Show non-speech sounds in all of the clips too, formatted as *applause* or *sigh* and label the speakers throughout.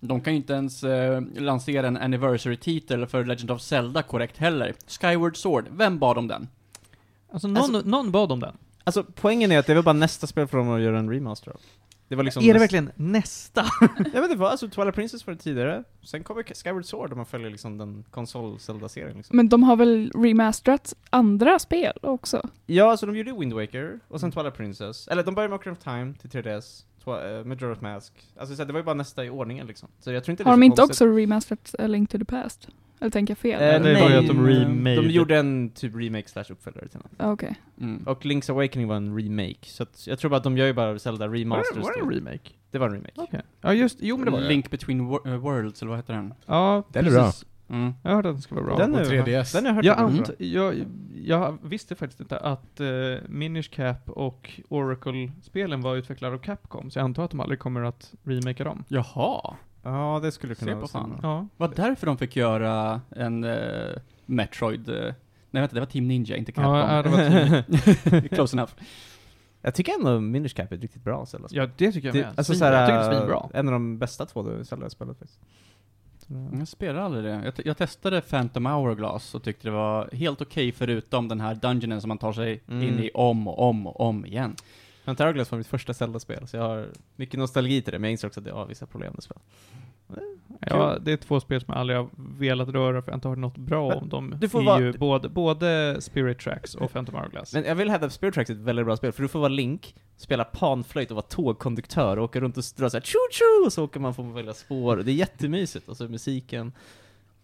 Speaker 1: De kan ju inte ens eh, lansera en anniversary-titel för Legend of Zelda korrekt heller. Skyward Sword, vem bad om den?
Speaker 2: Alltså någon, någon bad om den.
Speaker 3: Alltså poängen är att det är väl bara nästa spel för dem att göra en remaster av. Det var liksom
Speaker 2: är det
Speaker 3: näst-
Speaker 2: verkligen nästa?
Speaker 3: Ja men det var alltså Twilight Princess var det tidigare, sen kommer Skyward Sword om man följer liksom den konsol-Zelda-serien liksom.
Speaker 4: Men de har väl remasterat andra spel också?
Speaker 3: Ja, alltså de gjorde Wind Waker, och sen Twilight Princess. Eller de började med Ocarina of Time till 3DS, Twi- eh, Majora's Mask. Alltså så här, det var ju bara nästa i ordningen liksom. Så jag tror inte det
Speaker 4: Har
Speaker 3: är så
Speaker 4: de inte
Speaker 3: konstigt.
Speaker 4: också remasterat A Link to the Past? Eller tänker jag fel?
Speaker 3: Eh,
Speaker 2: det var ju att de
Speaker 3: nej,
Speaker 2: remade.
Speaker 3: De gjorde en typ remake slash uppföljare till den.
Speaker 4: Ja, Ah, Okej.
Speaker 1: Mm.
Speaker 3: Och Link's Awakening var en remake, så att jag tror bara att de gör ju bara Zelda remasters.
Speaker 2: Var det
Speaker 3: då.
Speaker 2: en remake?
Speaker 3: det var en remake.
Speaker 2: Okej. Ja just, jo men det var det.
Speaker 1: Link Between Wor- eh, Worlds, eller vad heter den?
Speaker 2: Ja,
Speaker 5: Den är
Speaker 2: precis.
Speaker 1: Mm.
Speaker 2: Jag hörde att den ska vara bra.
Speaker 3: Den
Speaker 5: på
Speaker 3: är-
Speaker 5: 3DS.
Speaker 3: Den har jag hört
Speaker 2: jag,
Speaker 3: var
Speaker 2: ant,
Speaker 3: bra.
Speaker 2: jag, jag visste faktiskt inte att eh, Minish Cap och Oracle-spelen var utvecklade av Capcom, så jag antar att de aldrig kommer att remakea dem.
Speaker 1: Jaha,
Speaker 3: Ja, det skulle
Speaker 1: Se
Speaker 3: kunna
Speaker 1: på
Speaker 3: vara
Speaker 1: fan.
Speaker 3: samma.
Speaker 2: Ja.
Speaker 1: var därför de fick göra en eh, Metroid... eh, nej vänta, det var Team Ninja, inte Capcom.
Speaker 2: Ja, ja, det var tydligt.
Speaker 1: *laughs* Close enough.
Speaker 3: Jag tycker ändå Minish Cap är ett riktigt bra Zelda-spel.
Speaker 2: ja, det tycker jag
Speaker 3: Det,
Speaker 2: med.
Speaker 3: alltså
Speaker 2: Svinbra.
Speaker 3: såhär,
Speaker 2: jag tycker det är svinbra.
Speaker 3: en av de bästa två Zelda-spelet faktiskt. mm,
Speaker 1: Jag spelade aldrig det. Jag, te- jag testade Phantom Hourglass och tyckte det var helt okej förutom den här dungeonen som man tar sig
Speaker 3: Mm.
Speaker 1: in i om och om och om igen.
Speaker 3: Antaraglas var mitt första Zelda-spel, så jag har mycket nostalgi till det, men jag inser också att jag har vissa problem med spel.
Speaker 2: Ja, det är två spel som jag aldrig har velat röra för jag har inte hört något bra
Speaker 3: Men
Speaker 2: om dem.
Speaker 3: du får
Speaker 2: är
Speaker 3: vara-
Speaker 2: ju både, både Spirit Tracks och Phantom Hourglass.
Speaker 3: Men jag vill hävda att Spirit Tracks är ett väldigt bra spel, för du får vara Link, spela panflöjt och vara tågkonduktör och åka runt och dra såhär tjo-tjo, och så åker man får man välja spår. Det är jättemysigt, och så musiken.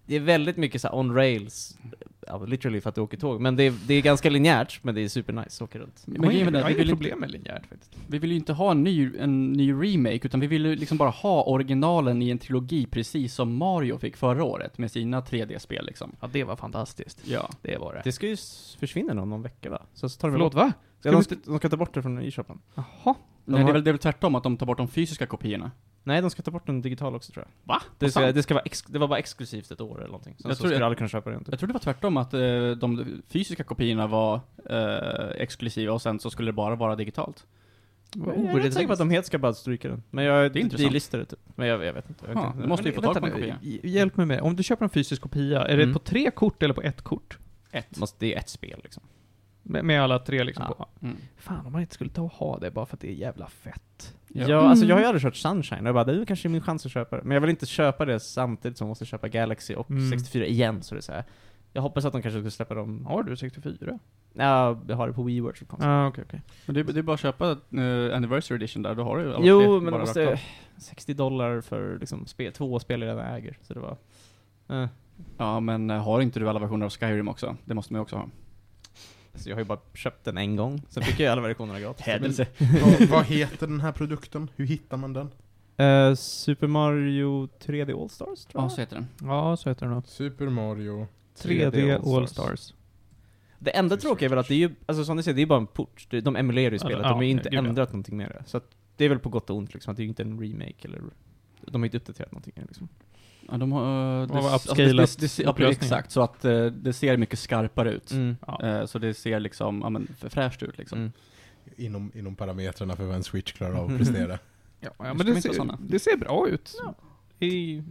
Speaker 3: Det är väldigt mycket såhär on rails, ja, literally för att du åker tåg, men det är, det är ganska linjärt, men det är supernice att åka runt.
Speaker 1: Men
Speaker 2: jag har
Speaker 1: grejen
Speaker 2: inget-
Speaker 1: är
Speaker 2: jag
Speaker 1: att
Speaker 2: har
Speaker 1: vi
Speaker 2: inget
Speaker 1: vill
Speaker 2: problem
Speaker 1: inte,
Speaker 2: med linjärt faktiskt.
Speaker 1: vi vill ju inte ha en ny, en ny remake, utan vi vill ju liksom bara ha originalen i en trilogi, precis som Mario fick förra året med sina 3D-spel liksom.
Speaker 2: Ja, det var fantastiskt.
Speaker 1: Ja.
Speaker 2: Det var det.
Speaker 3: Det ska ju s- försvinna någon, någon vecka va? Så, så tar de
Speaker 2: Förlåt,
Speaker 3: bort-
Speaker 2: va?
Speaker 3: Ja, de, ska- de ska ta bort det från e-shoppen.
Speaker 2: Jaha.
Speaker 1: Nej, det, är väl, det är väl tvärtom, att de tar bort de fysiska kopiorna.
Speaker 3: Nej, de ska ta bort den digital också tror jag.
Speaker 1: Va?
Speaker 3: Det,
Speaker 1: Det
Speaker 3: ska, det, ska vara ex, det var bara exklusivt ett år eller någonting. Sen
Speaker 1: Jag
Speaker 3: så
Speaker 1: tror
Speaker 3: skulle
Speaker 1: jag-
Speaker 3: alla kunna köpa det typ. inte.
Speaker 1: Jag tror det var tvärtom, att eh, de fysiska kopiorna var eh, exklusiva och sen så skulle det bara vara digitalt.
Speaker 2: Vad
Speaker 3: jag är
Speaker 2: orättvist.
Speaker 3: inte säker på att de helt ska bara stryka den. Men jag
Speaker 1: Det är intressant.
Speaker 3: delistar det typ. Men jag, jag vet inte. Jag
Speaker 1: Ja,
Speaker 3: kan inte-
Speaker 1: det måste- vi
Speaker 2: Men
Speaker 1: få tag
Speaker 2: vänta
Speaker 1: på en
Speaker 2: nu,
Speaker 1: kopia?
Speaker 2: hj- Hjälp mig med. Om du köper en fysisk kopia, är det
Speaker 3: Mm.
Speaker 2: på tre kort eller på ett kort?
Speaker 3: Ett. Måste, det är ett spel liksom.
Speaker 2: Med, med alla tre liksom
Speaker 3: Ja.
Speaker 2: på?
Speaker 1: Mm.
Speaker 2: Fan om man inte skulle ta och ha det bara för att det är jävla fett.
Speaker 3: Ja,
Speaker 1: Ja.
Speaker 3: alltså jag har ju
Speaker 4: Mm.
Speaker 3: aldrig kört Sunshine och jag bara, det är kanske min chans att köpa det. Men jag vill inte köpa det samtidigt som jag måste köpa Galaxy och
Speaker 2: Mm.
Speaker 3: 64 igen, så det är så här. Jag hoppas att de kanske skulle släppa dem...
Speaker 2: Har du 64?
Speaker 3: Ja, jag har det på Wii Workshop.
Speaker 2: Ja, ah, okej, okej.
Speaker 1: Men det, är- det är bara att köpa eh, Anniversary Edition där, då har du ju alla tre
Speaker 3: Jo, men det
Speaker 1: bara
Speaker 3: måste...
Speaker 1: rakt av.
Speaker 3: 60 dollar för liksom spel, två spel jag redan äger. Så det var... Eh.
Speaker 1: Ja, men eh, har inte du alla versioner av Skyrim också? Det måste man ju också ha.
Speaker 3: Alltså jag har ju bara köpt den en gång, sen fick jag ju alla versionerna gratis.
Speaker 1: Hädelse.
Speaker 5: Vad- Vad heter den här produkten? Hur hittar man den?
Speaker 3: Eh, Super Mario 3D All-Stars tror
Speaker 1: Ja,
Speaker 3: jag.
Speaker 1: så heter den.
Speaker 2: Ja, så heter den då.
Speaker 5: Super Mario.
Speaker 2: 3D All-Stars.
Speaker 3: Det enda tråkiga är väl att det är ju, alltså som ni säger, det är ju bara en port. Det- De emulerar ju
Speaker 2: Ja,
Speaker 3: spelet,
Speaker 2: ja,
Speaker 3: de har ju inte
Speaker 2: gud, ja.
Speaker 3: ändrat någonting med det. Så att det är väl på gott och ont liksom, att det är ju inte en remake eller... De har ju inte uppdaterat någonting liksom.
Speaker 1: Ja, de har... eh,
Speaker 2: De har
Speaker 1: det, det,
Speaker 2: upscalat
Speaker 1: det, det, ja, precis,
Speaker 2: upplösningen.
Speaker 1: exakt, så att eh, det ser mycket skarpare ut.
Speaker 5: Mm.
Speaker 2: Ja.
Speaker 1: Eh, så det ser liksom, ja men, för fräscht ut liksom.
Speaker 3: Mm.
Speaker 5: Inom, inom parametrarna för vad en Switch klarar av
Speaker 4: *laughs*
Speaker 5: att prestera.
Speaker 2: Ja,
Speaker 1: Ska
Speaker 2: men
Speaker 1: vi
Speaker 2: det
Speaker 1: inte ha
Speaker 2: ser,
Speaker 1: såna?
Speaker 2: det ser bra ut. I,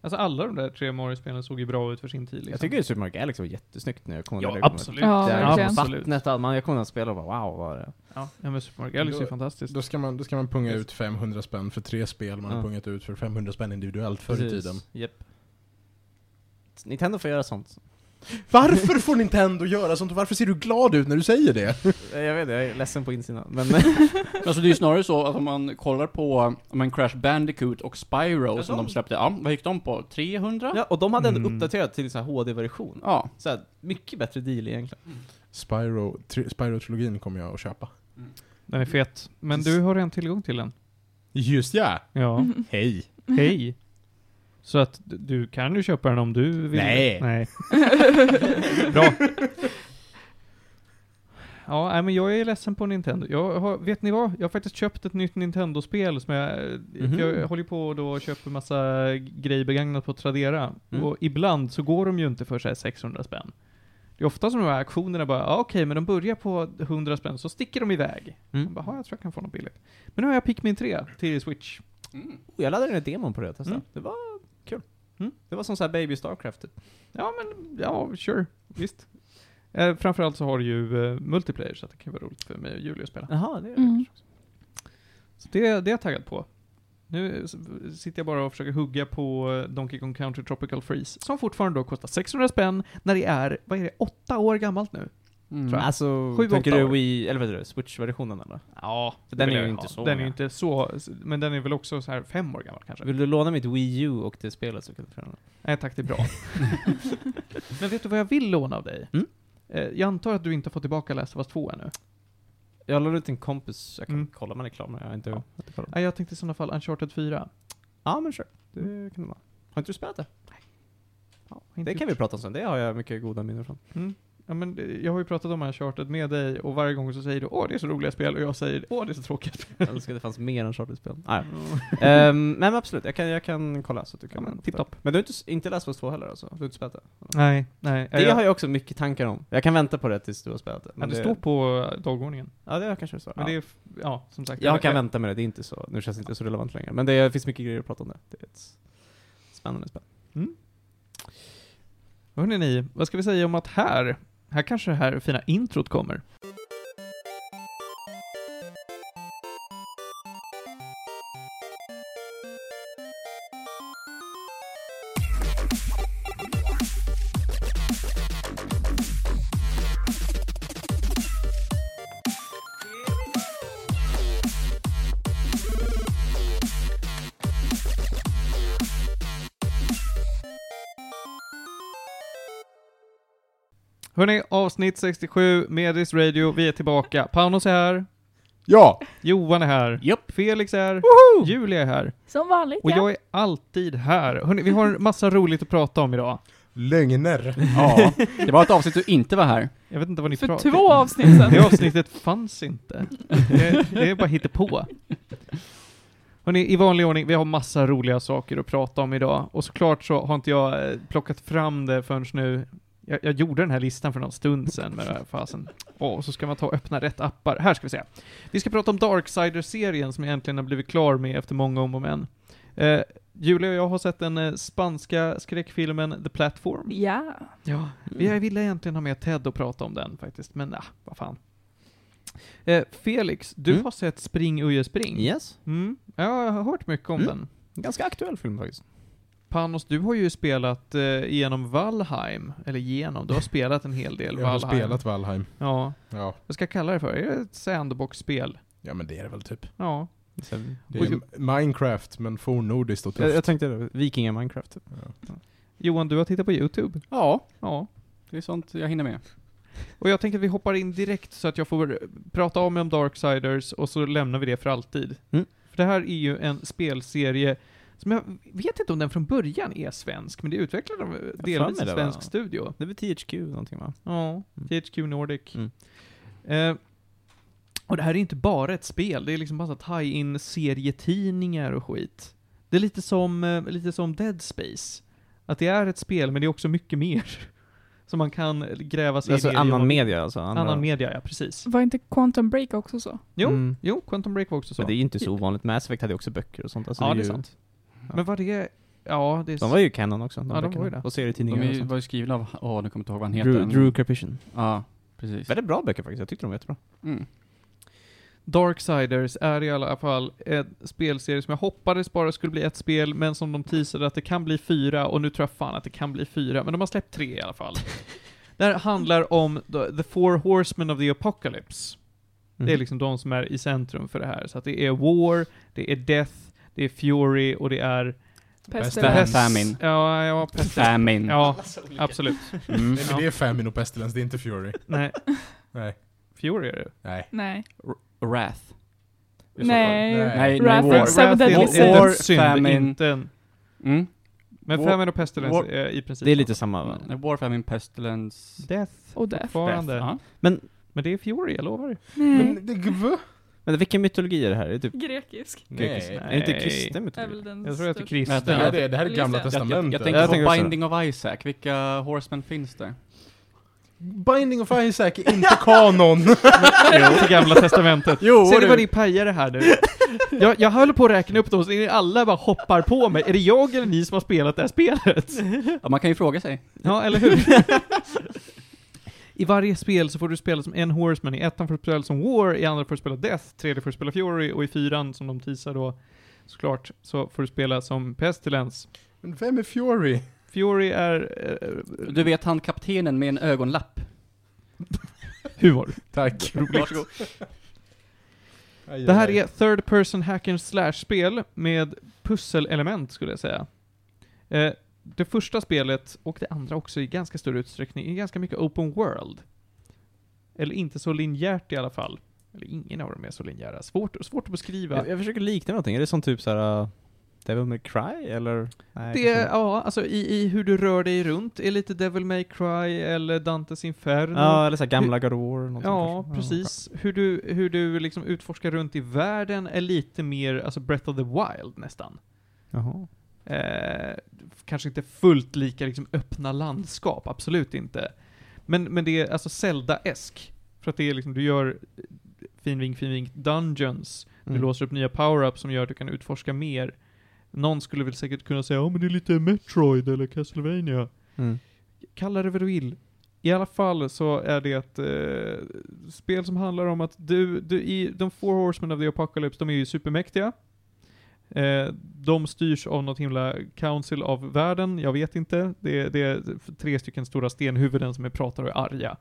Speaker 2: alltså alla de där tre Mario-spelen såg ju bra ut för sin tid. Liksom.
Speaker 3: *laughs* Jag tycker ju Super Mario Galaxy var jättesnyggt när jag kom
Speaker 2: Ja,
Speaker 3: när det kom
Speaker 2: absolut.
Speaker 4: Ja,
Speaker 3: ut. Där,
Speaker 4: verkligen.
Speaker 2: absolut.
Speaker 3: Vattnet, all- man, jag kommer att spela och bara wow vad är det?
Speaker 2: Ja, ja, men Super Mario Galaxy är
Speaker 5: Då-
Speaker 2: fantastiskt.
Speaker 5: Då ska, man, då ska man punga ut 500 spänn för tre spel man
Speaker 3: Ja.
Speaker 5: har pungat ut för 500 spänn individuellt förr i tiden.
Speaker 3: Japp. Nintendo får göra sånt.
Speaker 5: Varför får Nintendo göra sånt och varför ser du glad ut när du säger det?
Speaker 3: Eh, *laughs* jag vet inte, jag är ledsen på insidan. Men *laughs*
Speaker 1: Men Alltså det är ju snarare så att om man kollar på, om man Crash Bandicoot och Spyro
Speaker 3: Ja,
Speaker 1: som
Speaker 3: de-
Speaker 1: de släppte, ja, vad gick de på? 300?
Speaker 3: ja, och de hade ändå
Speaker 2: Mm.
Speaker 3: uppdaterat till så här HD-version.
Speaker 1: Ja.
Speaker 3: Så här, mycket bättre deal egentligen.
Speaker 5: Spyro, tri, Spyro-trilogin kommer jag att köpa.
Speaker 2: Den är fet. Men du har redan tillgång till den.
Speaker 5: Just ja!
Speaker 2: Ja.
Speaker 4: *laughs* Mm.
Speaker 5: Hej!
Speaker 2: Hej. Så att d- du kan ju köpa den om du vill.
Speaker 3: Nej.
Speaker 2: Nej. Bra. Ja, nej, men jag är ledsen på Nintendo. Jag har, vet ni vad? Jag har faktiskt köpt ett nytt Nintendo-spel som jag...
Speaker 3: Mhm.
Speaker 2: Jag håller ju på och då och köper massa grejer begagnat på Tradera.
Speaker 3: Mm.
Speaker 2: Och ibland så går de ju inte för så här 600 spänn. Det är ofta som de här auktionerna bara, ja okej, men de börjar på 100 spänn, så sticker de iväg.
Speaker 3: Mm.
Speaker 2: Jag bara, "Ja, jag tror jag kan få något billigt. Men nu har jag Pikmin 3 till Switch.
Speaker 1: Mm.
Speaker 3: Oh, jag laddade ner demon på det och testade.
Speaker 2: Mm.
Speaker 3: Det var kul.
Speaker 2: Mm.
Speaker 3: Det var som så här baby Starcraft typ.
Speaker 2: Ja, men ja, sure. Visst. Eh, framförallt så har du ju eh, multiplayer, så att det kan vara roligt för mig och Julia att spela.
Speaker 3: Jaha, det är
Speaker 4: Mm.
Speaker 2: Så det, det är jag taggad på. Nu eh, s- sitter jag bara och försöker hugga på eh, Donkey Kong Country Tropical Freeze, som fortfarande då kostar 600 spänn när det är, vad är det, åtta år gammalt nu?
Speaker 1: Mm.
Speaker 2: Tror jag.
Speaker 3: Alltså,
Speaker 2: Sju,
Speaker 3: tänker
Speaker 2: åtta
Speaker 3: du
Speaker 2: år.
Speaker 3: Wii, eller vad heter det, Switch-versionen eller?
Speaker 2: Ja,
Speaker 3: För den är ju inte så
Speaker 2: Den är ju
Speaker 3: gammal.
Speaker 2: inte så, men den är väl också så här fem år gammal kanske?
Speaker 3: Vill du låna mitt Wii U och det spelet så kan du träna?
Speaker 2: Nej tack, det är bra.
Speaker 3: *laughs*
Speaker 2: men vet du vad jag vill låna av dig?
Speaker 3: Mm.
Speaker 2: Eh, jag antar att du inte har fått tillbaka Last of Us 2 ännu?
Speaker 3: Jag la ut en kompis, jag kan
Speaker 2: Mm.
Speaker 3: kolla om han är klar med det. Jag har inte,
Speaker 2: Ja.
Speaker 3: jag har inte kollat.
Speaker 2: Nej, jag tänkte i sådana fall Uncharted 4.
Speaker 3: Ja men sure, det kan det vara. Har inte du spelat det?
Speaker 2: Ja,
Speaker 3: Det kan vi prata om sen, det har jag mycket goda minnen från.
Speaker 2: Mm. Ja, men det- jag har ju pratat om Uncharted med dig och varje gång så säger du åh det är så roliga spel och jag säger åh det är så tråkiga spel.
Speaker 3: Jag önskar det fanns mer än Charter-spel. Ah,
Speaker 2: *laughs*
Speaker 3: ja.
Speaker 2: Mm.
Speaker 3: Ehm, nej men absolut, jag kan, jag kan kolla så att du
Speaker 2: Ja,
Speaker 3: kan.
Speaker 2: men
Speaker 3: få
Speaker 2: tipptopp.
Speaker 3: det. Men du har inte, s- inte läst Fast 2 heller alltså? Du har inte spelat det?
Speaker 2: Nej, nej.
Speaker 3: Det har jag också mycket tankar om. Jag kan vänta på det tills du har spelat det.
Speaker 2: ja,
Speaker 3: men
Speaker 2: det står på dagordningen.
Speaker 3: Ja det kanske det står.
Speaker 2: Men
Speaker 3: ja.
Speaker 2: det är, f- ja som sagt.
Speaker 3: Jag kan vänta med det, det är inte så, nu känns det inte så relevant längre. Men det är, finns mycket grejer att prata om det. Det är ett spännande spel.
Speaker 2: Hörrni ni, vad ska vi säga om att här, här kanske det här fina introt kommer. Hörrni, avsnitt 67, Medis Radio, vi är tillbaka. Panos är här,
Speaker 5: Ja!
Speaker 2: Johan är här,
Speaker 3: Japp.
Speaker 2: Felix är här, Julia är här
Speaker 4: Som vanligt
Speaker 2: och
Speaker 4: ja.
Speaker 2: jag är alltid här. Hörrni, vi har en massa roligt att prata om idag.
Speaker 5: Lögner.
Speaker 1: Ja, det var ett avsnitt du inte var här.
Speaker 2: Jag vet inte vad ni
Speaker 4: För
Speaker 2: pratar
Speaker 4: två avsnitt
Speaker 2: *laughs*
Speaker 4: sen.
Speaker 2: Det avsnittet fanns inte. Det, det är bara hittepå. Hörrni, i vanlig ordning, vi har massa roliga saker att prata om idag. Och såklart så har inte jag eh, plockat fram det förrän nu. Jag, jag gjorde den här listan för någon stund sedan med den här fasen. Åh, och så ska man ta och öppna rätt appar. Här ska vi se. Vi ska prata om Darksider-serien som jag äntligen har blivit klar med efter många om och men. Eh, Julia och jag har sett den eh, spanska skräckfilmen The Platform.
Speaker 4: Ja.
Speaker 2: Ja, vi-
Speaker 3: Mm.
Speaker 2: jag ville egentligen ha med Ted och prata om den faktiskt, men nah, vad fan. Eh, Felix, du
Speaker 3: Mm.
Speaker 2: har sett Spring Uje Spring.
Speaker 3: Yes.
Speaker 2: Mm, jag har hört mycket om
Speaker 3: Mm.
Speaker 2: den.
Speaker 3: Ganska aktuell film faktiskt.
Speaker 2: Panos, du har ju spelat eh, igenom Valheim, eller genom, du har spelat en hel del
Speaker 5: *laughs* Jag har
Speaker 2: Valheim.
Speaker 5: spelat Valheim.
Speaker 2: Ja,
Speaker 5: Ja.
Speaker 2: vad ska jag kalla det för? Är det ett sandbox-spel?
Speaker 5: ja, men det är det väl typ.
Speaker 2: Ja.
Speaker 3: Sen,
Speaker 5: Det är Minecraft, men fornnordiskt och
Speaker 3: jag,
Speaker 5: tufft.
Speaker 3: jag tänkte det, Vikinga Minecraft.
Speaker 2: Johan, du har tittat på YouTube?
Speaker 1: Ja,
Speaker 2: Ja.
Speaker 1: det är sånt jag hinner med.
Speaker 2: Och jag tänker att vi hoppar in direkt så att jag får prata om mig om Darksiders och så lämnar vi det för alltid.
Speaker 3: Mm.
Speaker 2: För det här är ju en spelserie som jag vet inte om den från början är svensk, men det utvecklade de delvis
Speaker 3: mig
Speaker 2: en
Speaker 3: det,
Speaker 2: svensk
Speaker 3: va?
Speaker 2: studio.
Speaker 3: Det är väl THQ någonting va?
Speaker 2: Ja,
Speaker 3: Mm.
Speaker 2: THQ Nordic.
Speaker 3: Mm.
Speaker 2: Eh, och det här är inte bara ett spel, det är liksom massa tie-in serietidningar och skit. Det är lite som, eh, lite som Dead Space. Att det är ett spel, men det är också mycket mer. *laughs* Som man kan gräva sig
Speaker 3: Alltså
Speaker 2: ner genom-
Speaker 3: annan media alltså? Andra.
Speaker 2: Annan media, ja precis.
Speaker 4: Var inte Quantum Break också så?
Speaker 2: Jo,
Speaker 3: Mm.
Speaker 2: jo, Quantum Break var också så.
Speaker 3: Men det är ju inte så ovanligt. Mass Effect hade ju också böcker och sånt. Alltså,
Speaker 2: ja,
Speaker 3: ju,
Speaker 2: det är sant. Men vad det... Ja, det är...
Speaker 3: De var ju canon också.
Speaker 2: Ja, de
Speaker 3: böckerna.
Speaker 2: var ju det.
Speaker 3: Och
Speaker 1: De
Speaker 3: serietidningar
Speaker 1: är,
Speaker 3: och
Speaker 1: ju-
Speaker 3: sånt.
Speaker 1: var ju skrivna av, åh nu kommer jag inte ihåg vad han heter.
Speaker 3: Drew, Drew Carpition.
Speaker 1: Ja, precis.
Speaker 3: Väldigt bra böcker faktiskt, jag tyckte de var jättebra.
Speaker 1: Mm.
Speaker 2: Darksiders är i alla fall en spelserie som jag hoppades bara skulle bli ett spel, men som de teasade att det kan bli fyra, och nu tror jag fan att det kan bli fyra, men de har släppt tre i alla
Speaker 3: *laughs*
Speaker 2: fall. det här handlar om the, the Four Horsemen of the Apocalypse.
Speaker 5: Mm.
Speaker 2: Det
Speaker 3: Mhm.
Speaker 2: är liksom de som är i centrum för det här. Så att det är War, det är Death, det är Fury och det är...
Speaker 4: Pest
Speaker 5: Bästa
Speaker 4: eller
Speaker 1: Fam-
Speaker 5: Pestilens.
Speaker 1: Famine.
Speaker 2: Ja, ja, pest.
Speaker 1: Famine.
Speaker 2: Ja, absolut.
Speaker 1: Mm.
Speaker 5: Nej, men det är Famine och Pestilence, det är inte Fury.
Speaker 2: Nej,
Speaker 5: Nej.
Speaker 2: Fury är det.
Speaker 5: Nej.
Speaker 4: Nej.
Speaker 1: Wrath.
Speaker 4: Nej.
Speaker 1: Nej, nej,
Speaker 4: Wrath
Speaker 1: War.
Speaker 4: and Seven
Speaker 2: Wrath är
Speaker 4: Deadly
Speaker 1: War-
Speaker 2: inte
Speaker 4: Sins.
Speaker 1: War-
Speaker 2: en synd,
Speaker 1: famine.
Speaker 2: inte en...
Speaker 1: Mm.
Speaker 2: Men
Speaker 1: War-
Speaker 2: Famine och Pestilence
Speaker 1: War-
Speaker 2: är i princip
Speaker 3: Det är lite samma va?
Speaker 5: Mm.
Speaker 1: Nej, War, Famine, Pestilence,
Speaker 2: Death
Speaker 4: Och Death.
Speaker 1: Death.
Speaker 2: fortfarande.
Speaker 1: Ja.
Speaker 3: Men,
Speaker 2: Men det är Fury, jag lovar.
Speaker 4: Nej.
Speaker 5: Men det... va?
Speaker 3: men vilken mytologi är det här? Är det typ
Speaker 4: Grekisk.
Speaker 5: Nej.
Speaker 3: Är det inte kristen
Speaker 4: Är
Speaker 3: mytologi?
Speaker 4: väl den
Speaker 2: Jag tror att det är
Speaker 4: största.
Speaker 5: Det
Speaker 2: kristen.
Speaker 5: här, det, det här är gamla
Speaker 4: Jag-
Speaker 1: Jag, jag,
Speaker 4: jag-
Speaker 5: testamentet.
Speaker 1: jag
Speaker 3: Jag
Speaker 1: tänker
Speaker 3: tänker
Speaker 1: på
Speaker 3: också.
Speaker 1: Binding of Isaac, vilka Horsemen finns det?
Speaker 5: Binding of Isaac är inte
Speaker 2: *laughs*
Speaker 5: kanon!
Speaker 2: Jo, till Gamla Testamentet.
Speaker 1: Jo,
Speaker 2: Ser ni vad ni pajar det här nu? Jag, jag höll på att räkna upp dem, så ni alla bara hoppar på mig. Är det jag eller ni som har spelat det här spelet?
Speaker 1: Ja, man kan ju fråga sig.
Speaker 2: Ja, eller hur? I varje spel så får du spela som en Horseman. I ettan får du spela som War, i andra får du spela Death, tredje får du spela Fury och i fyran, som de teasar då, såklart, så får du spela som Pestilence.
Speaker 5: Men vem är Fury?
Speaker 2: Fury är... Eh,
Speaker 1: Du vet han kaptenen med en ögonlapp?
Speaker 2: humor.
Speaker 5: Tack.
Speaker 1: *laughs* Varsågod.
Speaker 5: Aj,
Speaker 2: Det här
Speaker 5: aj, aj.
Speaker 2: är third person hack and slash-spel med pusselelement, skulle jag säga. Eh, det första spelet, och det andra också i ganska stor utsträckning, är ganska mycket open world. Eller inte så linjärt i alla fall. Eller ingen av dem är så linjära. Svårt, svårt att beskriva.
Speaker 3: Jag, jag försöker likna någonting, är det som typ såhär uh, Devil May Cry eller? Nej,
Speaker 2: Det är,
Speaker 3: kanske inte.
Speaker 2: ja, alltså i, i hur du rör dig runt, är lite Devil May Cry eller Dantes Inferno.
Speaker 3: Ja, eller såhär gamla God of War eller någonting
Speaker 2: Ja,
Speaker 3: kanske.
Speaker 2: precis. Hur du, hur du liksom utforskar runt i världen är lite mer, alltså Breath of the Wild nästan.
Speaker 3: Jaha.
Speaker 2: Eh, kanske inte fullt lika liksom, öppna landskap, absolut inte. Men, men det är alltså Zelda-esk. För att det är liksom, du gör finvink, finvink dungeons. Du
Speaker 3: Mm.
Speaker 2: låser upp nya power-ups som gör att du kan utforska mer. Någon skulle väl säkert kunna säga, ja men det är lite Metroid eller Castlevania.
Speaker 3: Mm.
Speaker 2: Kalla det vad du vill. I alla fall så är det ett eh, spel som handlar om att du, du i de Four Horsemen of the Apocalypse, de är ju supermäktiga. Eh, de styrs av något himla council av världen, jag vet inte. Det, det är tre stycken stora stenhuvuden som är pratar och är arga.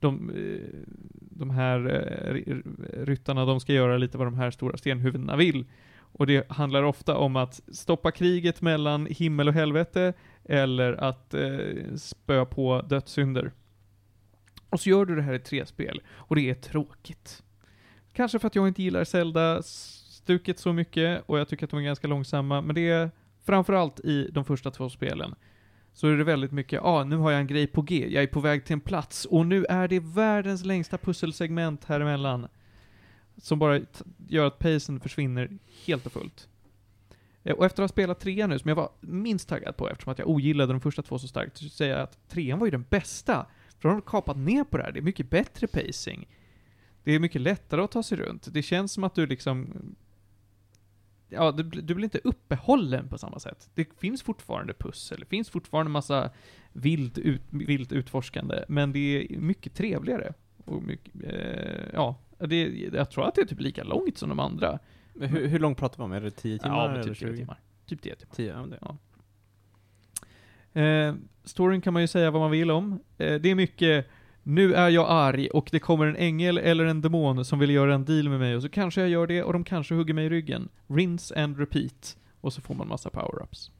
Speaker 2: De, eh, de här eh, ry- ryttarna, de ska göra lite vad de här stora stenhuvudena vill. Och det handlar ofta om att stoppa kriget mellan himmel och helvete, eller att eh, spöa på dödssynder. Och så gör du det här i tre spel, och det är tråkigt. Kanske för att jag inte gillar Zelda-stuket så mycket, och jag tycker att de är ganska långsamma, men det är framförallt i de första två spelen så är det väldigt mycket, ja ah, nu har jag en grej på G, jag är på väg till en plats, och nu är det världens längsta pusselsegment här emellan. Som bara t- gör att pacen försvinner helt och fullt. Eh, Och efter att ha spelat trean nu, som jag var minst taggad på eftersom att jag ogillade de första två så starkt, så säger jag att trean var ju den bästa. För de har kapat ner på det här, det är mycket bättre pacing. Det är mycket lättare att ta sig runt. Det känns som att du liksom... Ja, du, bl- du blir inte uppehållen på samma sätt. Det finns fortfarande pussel, det finns fortfarande massa vilt, ut, vilt utforskande, men det är mycket trevligare. Och mycket, eh, ja, det, jag tror att det är typ lika långt som de andra.
Speaker 3: Men hur, hur långt pratar vi om? Är det 10 timmar?
Speaker 2: ja, men
Speaker 3: eller
Speaker 2: typ 10
Speaker 3: 20?
Speaker 2: timmar. Typ 10 timmar.
Speaker 3: 10, ja, men det.
Speaker 2: Eh, storyn kan man ju säga vad man vill om. Eh, det är mycket nu är jag arg och det kommer en ängel eller en demon som vill göra en deal med mig och så kanske jag gör det och de kanske hugger mig i ryggen. Rinse and repeat. Och så får man massa power-ups.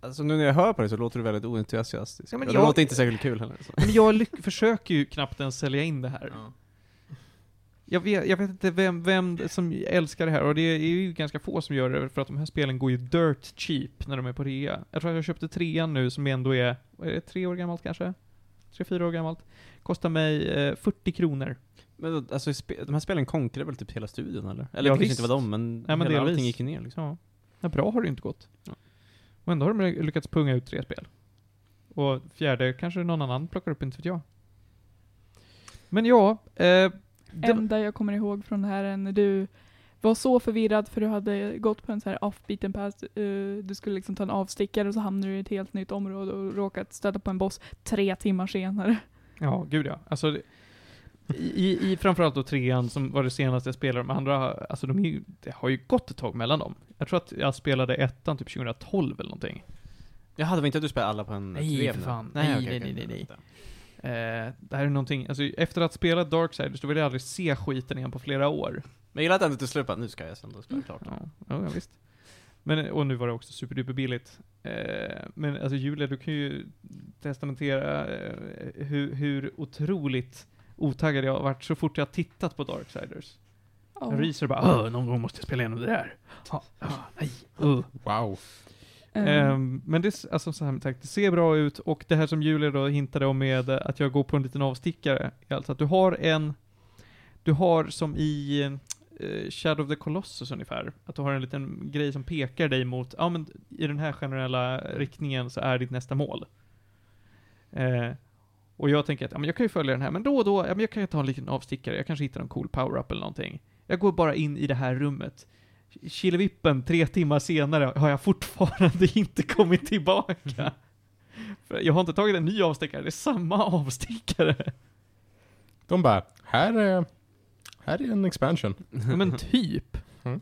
Speaker 3: Alltså nu när jag hör på dig så låter du väldigt oentusiastisk.
Speaker 2: Ja, men
Speaker 3: Och
Speaker 2: jag-
Speaker 3: Det låter inte särskilt kul heller. Så.
Speaker 2: Men jag lyck- försöker ju knappt ens sälja in det här. Jag vet, jag vet inte vem, vem som älskar det här och det är ju ganska få som gör det för att de här spelen går ju dirt cheap när de är på rea. Jag tror att jag köpte trean nu som ändå är, vad är det, tre år gammalt kanske? Tre, fyra år gammalt. Kostar mig eh, 40 kronor.
Speaker 3: Men alltså, spe- de här spelen konkurrerar väl typ hela studion eller? Eller
Speaker 2: Ja,
Speaker 3: det kanske
Speaker 2: visst.
Speaker 3: inte var dem, men,
Speaker 2: Ja, men
Speaker 3: hela allting
Speaker 2: delvis.
Speaker 3: gick ju ner liksom.
Speaker 2: Ja. ja, bra har det ju inte gått. Och ändå har de lyckats punga ut tre spel. Och fjärde kanske någon annan plockar upp, inte vet jag. Men ja, eh,
Speaker 4: Det enda jag kommer ihåg från det här är när du var så förvirrad för du hade gått på en så här off-beaten path. eh, du skulle liksom ta en avstickare och så hamnade du i ett helt nytt område och råkat stöta på en boss tre timmar senare.
Speaker 2: Ja, gud ja. Alltså, det- i, i- i framförallt då trean som var det senaste jag spelade, de andra, alltså de är ju, det har ju gått ett tag mellan dem. Jag tror att jag spelade ettan typ 2012 eller någonting.
Speaker 3: Jaha, det var inte att du spelade alla på en
Speaker 2: Nej,
Speaker 3: ett vev
Speaker 2: för
Speaker 3: nu?
Speaker 2: fan.
Speaker 3: Nej,
Speaker 2: Nej,
Speaker 3: okej,
Speaker 2: nej,
Speaker 3: okej.
Speaker 2: nej, nej, Eh, det här är någonting, alltså efter att ha spelat Darksiders, då vill jag aldrig se skiten igen på flera år.
Speaker 3: Men jag gillar att ändå till slut bara, nu ska jag sen då spela klart.
Speaker 2: Ja, ja ja, visst. Men, och nu var det också superduper billigt. Eh, men alltså Julia, du kan ju testamentera eh, hur, hur otroligt otaggad jag har varit så fort jag har tittat på Darksiders.
Speaker 4: Ja.
Speaker 2: Jag ryser bara "Åh, någon gång måste jag spela igenom det där. Ja, ja, nej. Uh.
Speaker 5: Wow.
Speaker 4: Ehm,
Speaker 2: Ehm, men det, s- alltså, så här, tack, det ser bra ut och det här som Julia då hintade om med eh, att jag går på en liten avstickare. är Alltså att du har en, du har som i eh, Shadow of the Colossus ungefär, att du har en liten grej som pekar dig mot, ja men i den här generella riktningen så är ditt nästa mål. Eh, och jag tänker att ja, men jag kan ju följa den här, men då och då, ja, men jag kan ju ta en liten avstickare, jag kanske hittar en cool power-up eller någonting. Jag går bara in i det här rummet. Killevippen, tre timmar senare, har jag fortfarande *laughs* inte kommit tillbaka. För jag har inte tagit en ny avstickare, det är samma avstickare.
Speaker 5: De bara, här är, här är en expansion.
Speaker 2: Ja, Men typ. Mm.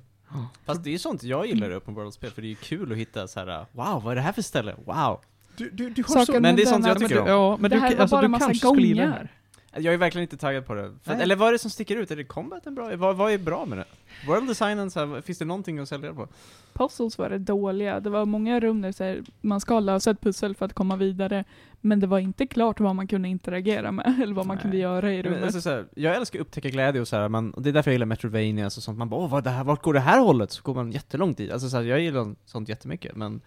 Speaker 3: Fast det är ju sånt jag gillar i open world-spel, för det är ju kul att hitta så här. wow, vad är det här för ställe? Wow!
Speaker 5: Du, du, du har
Speaker 4: Saken
Speaker 5: så...
Speaker 4: med
Speaker 3: men det är
Speaker 4: den
Speaker 3: sånt jag
Speaker 4: att-
Speaker 2: Men du,
Speaker 3: tycker om.
Speaker 2: ja, men
Speaker 4: Det
Speaker 2: du,
Speaker 4: här var
Speaker 2: alltså,
Speaker 4: bara
Speaker 2: du
Speaker 4: massa
Speaker 2: kanske skulle gilla det
Speaker 4: gångar.
Speaker 2: här.
Speaker 3: Jag är verkligen inte taggad på det. För att,
Speaker 2: Nej.
Speaker 3: eller vad är det som sticker ut? Är det combaten bra? Vad, vad är bra med det? World designen, så här, finns det någonting att sälja på?
Speaker 4: Puzzles var rätt dåliga. Det var många rum där så här, man ska lösa ett pussel för att komma vidare, men det var inte klart vad man kunde interagera med *laughs* eller vad man
Speaker 3: Nej.
Speaker 4: kunde göra i
Speaker 3: Men,
Speaker 4: rummet.
Speaker 3: Alltså, så här, jag älskar att upptäcka glädje och så här, man, och det är därför jag gillar Metroidvania och sånt. Man bara åh, vad det här, vart går det här hållet? Så går man jättelångt i. Alltså så här, jag gillar sånt jättemycket, men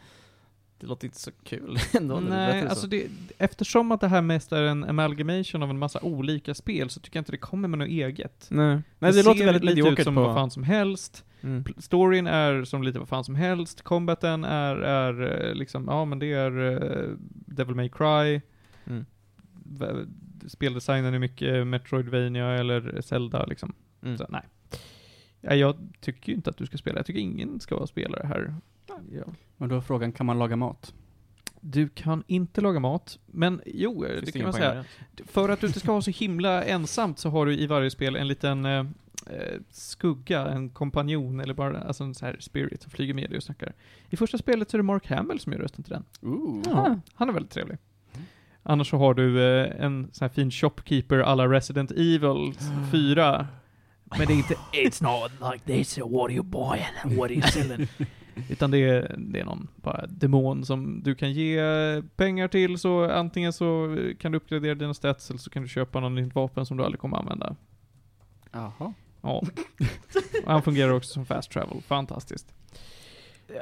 Speaker 3: det låter inte så kul *laughs* ändå. när du
Speaker 2: Nej,
Speaker 3: berättar så.
Speaker 2: alltså det, eftersom att det här mest är en amalgamation av en massa olika spel så tycker jag inte det kommer med något eget.
Speaker 3: Nej. Nej, det, låter
Speaker 2: ser
Speaker 3: väldigt
Speaker 2: lite ut
Speaker 3: mediokert
Speaker 2: som
Speaker 3: på...
Speaker 2: vad fan som helst.
Speaker 3: Mm.
Speaker 2: Pl- Storyn är som lite vad fan som helst. Combaten är, är eh, liksom, ja men det är eh, Devil May Cry.
Speaker 3: Mm.
Speaker 2: V- Speldesignen är mycket eh, Metroidvania eller Zelda liksom.
Speaker 3: Mm.
Speaker 2: Så, nej. Ja, jag tycker ju inte att du ska spela. Jag tycker ingen ska vara spelare här. Ja.
Speaker 1: Men då är frågan, kan man laga mat?
Speaker 2: Du kan inte laga mat, men jo,
Speaker 3: Finns
Speaker 2: det kan
Speaker 3: ingen
Speaker 2: man
Speaker 3: poäng
Speaker 2: säga.
Speaker 3: med det?
Speaker 2: För att du inte ska ha så himla ensamt så har du i varje spel en liten eh, eh, skugga, en kompanjon eller bara alltså en så här spirit som flyger med dig och snackar. I första spelet så är det Mark Hamill som gör rösten till den.
Speaker 1: Ooh.
Speaker 4: Ah.
Speaker 2: Han är väldigt trevlig. Annars så har du eh, en sån här fin shopkeeper alla Resident Evil 4. Men det är inte
Speaker 3: *laughs*
Speaker 6: It's not like this, what are you buying
Speaker 2: *laughs*
Speaker 6: and what are you selling?
Speaker 2: Utan det är, det är någon bara demon som du kan ge eh, pengar till, så antingen så kan du uppgradera dina stats, eller så kan du köpa något nytt vapen som du aldrig kommer använda.
Speaker 1: Jaha.
Speaker 2: Ja. Och han fungerar också som fast travel. Fantastiskt.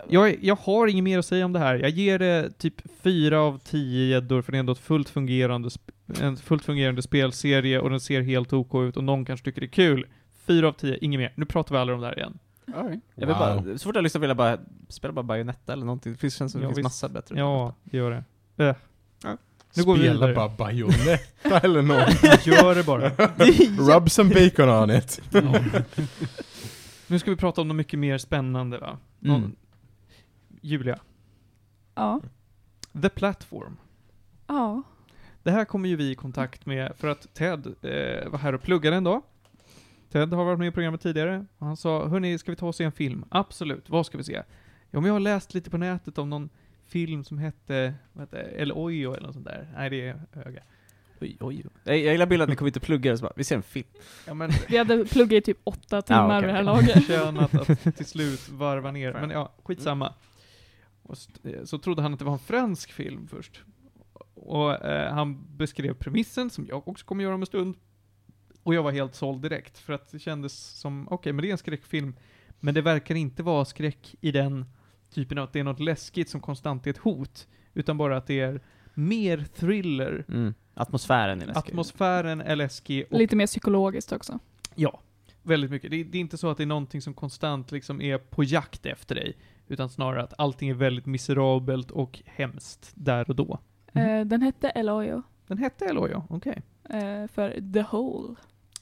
Speaker 2: Jag, jag har inget mer att säga om det här. Jag ger det typ fyra av tio gäddor, för det är ändå ett fullt fungerande, sp- en fullt fungerande spelserie och den ser helt OK ut och någon kanske tycker det är kul. fyra av tio inget mer. Nu pratar vi aldrig om det här igen.
Speaker 1: All right.
Speaker 3: Jag vill
Speaker 5: Wow.
Speaker 3: bara, så fort jag lyssnar vill jag bara spela bara Bayonetta eller någonting. Det finns- känns som det
Speaker 2: Ja,
Speaker 3: finns
Speaker 2: visst.
Speaker 3: massa bättre. *laughs*
Speaker 2: Ja, det gör det. Äh. Nu går vi
Speaker 5: Spela
Speaker 2: vidare.
Speaker 5: bara Bayonetta eller något.
Speaker 2: Gör *laughs* det bara.
Speaker 5: *laughs* Rub some bacon on it.
Speaker 2: Nu ska vi prata om något mycket mer spännande va?
Speaker 3: Mm.
Speaker 2: Någon- Julia,
Speaker 4: Ja.
Speaker 2: The Platform.
Speaker 4: ja.
Speaker 2: Det här kommer ju vi i kontakt med för att Ted eh, var här och pluggade en dag. Ted har varit med i programmet tidigare och han sa Hörni, ska vi ta och se en film? Absolut, vad ska vi se? Ja, men jag har läst lite på nätet om någon film som hette, vad hette det? El Ojo eller något sånt där. Nej, det är öga.
Speaker 3: Oj, oj, oj. Jag, jag gillar bilden att ni kommer inte plugga det, så bara, vi ser en film.
Speaker 2: Ja, men
Speaker 4: Vi hade pluggat i typ
Speaker 3: *laughs*
Speaker 4: åtta timmar
Speaker 3: okej,
Speaker 4: vid det här
Speaker 2: *laughs*
Speaker 3: okej. *laughs*
Speaker 4: laget.
Speaker 2: förtjänat att till slut varva ner. Men ja, skitsamma. Och st- eh, så trodde han att det var en fransk film först. Och eh, han beskrev premissen, som jag också kommer göra om en stund. Och jag var helt såld direkt, för att det kändes som, okej, men det är en skräckfilm. Men det verkar inte vara skräck i den typen av att det är något läskigt som konstant är ett hot. Utan bara att det är mer thriller.
Speaker 3: Mm. Atmosfären är läskig.
Speaker 2: Atmosfären är läskig och
Speaker 4: Lite mer psykologiskt också.
Speaker 2: Ja, väldigt mycket. Det, det är inte så att det är någonting som konstant liksom är på jakt efter dig, utan snarare att allting är väldigt miserabelt och hemskt där och då. Mhm.
Speaker 4: Eh, den hette El Oyo,
Speaker 2: Den hette Eloja, okej.
Speaker 4: eh, för The Hole.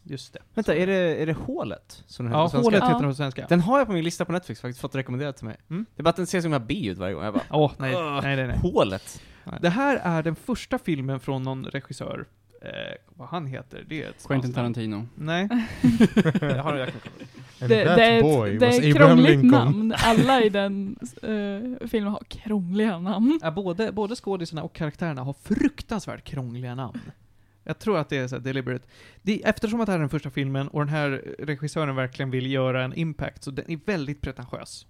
Speaker 2: Just det.
Speaker 3: Vänta, är det, är det Hålet? Som den heter
Speaker 2: Ja,
Speaker 3: på svenska?
Speaker 2: hålet
Speaker 4: Ja.
Speaker 2: heter den på svenska.
Speaker 3: Den har jag på min lista på Netflix faktiskt, fått rekommenderat till mig.
Speaker 2: Mm.
Speaker 3: Det är bara att den ser som jag B-ljud varje gång. Jag bara,
Speaker 2: Åh, nej, nej, *laughs* nej, nej.
Speaker 3: Hålet?
Speaker 2: Det här är den första filmen från någon regissör, eh, vad han heter, det är ett
Speaker 1: *laughs* Quentin Tarantino.
Speaker 2: Nej,
Speaker 3: Jag har, jag kan,
Speaker 5: And
Speaker 4: det,
Speaker 5: that
Speaker 4: det är
Speaker 5: boy
Speaker 4: ett, det
Speaker 5: was
Speaker 4: är ett
Speaker 5: Abraham
Speaker 4: krångligt
Speaker 5: Lincoln.
Speaker 4: *laughs* namn. Alla i den eh, filmen har krångliga namn.
Speaker 2: ja, både, både skådisarna och karaktärerna har fruktansvärt krångliga namn. Jag tror att det är så här deliberate. Det, eftersom att det här är den första filmen och den här regissören verkligen vill göra en impact, så den är väldigt pretentiös.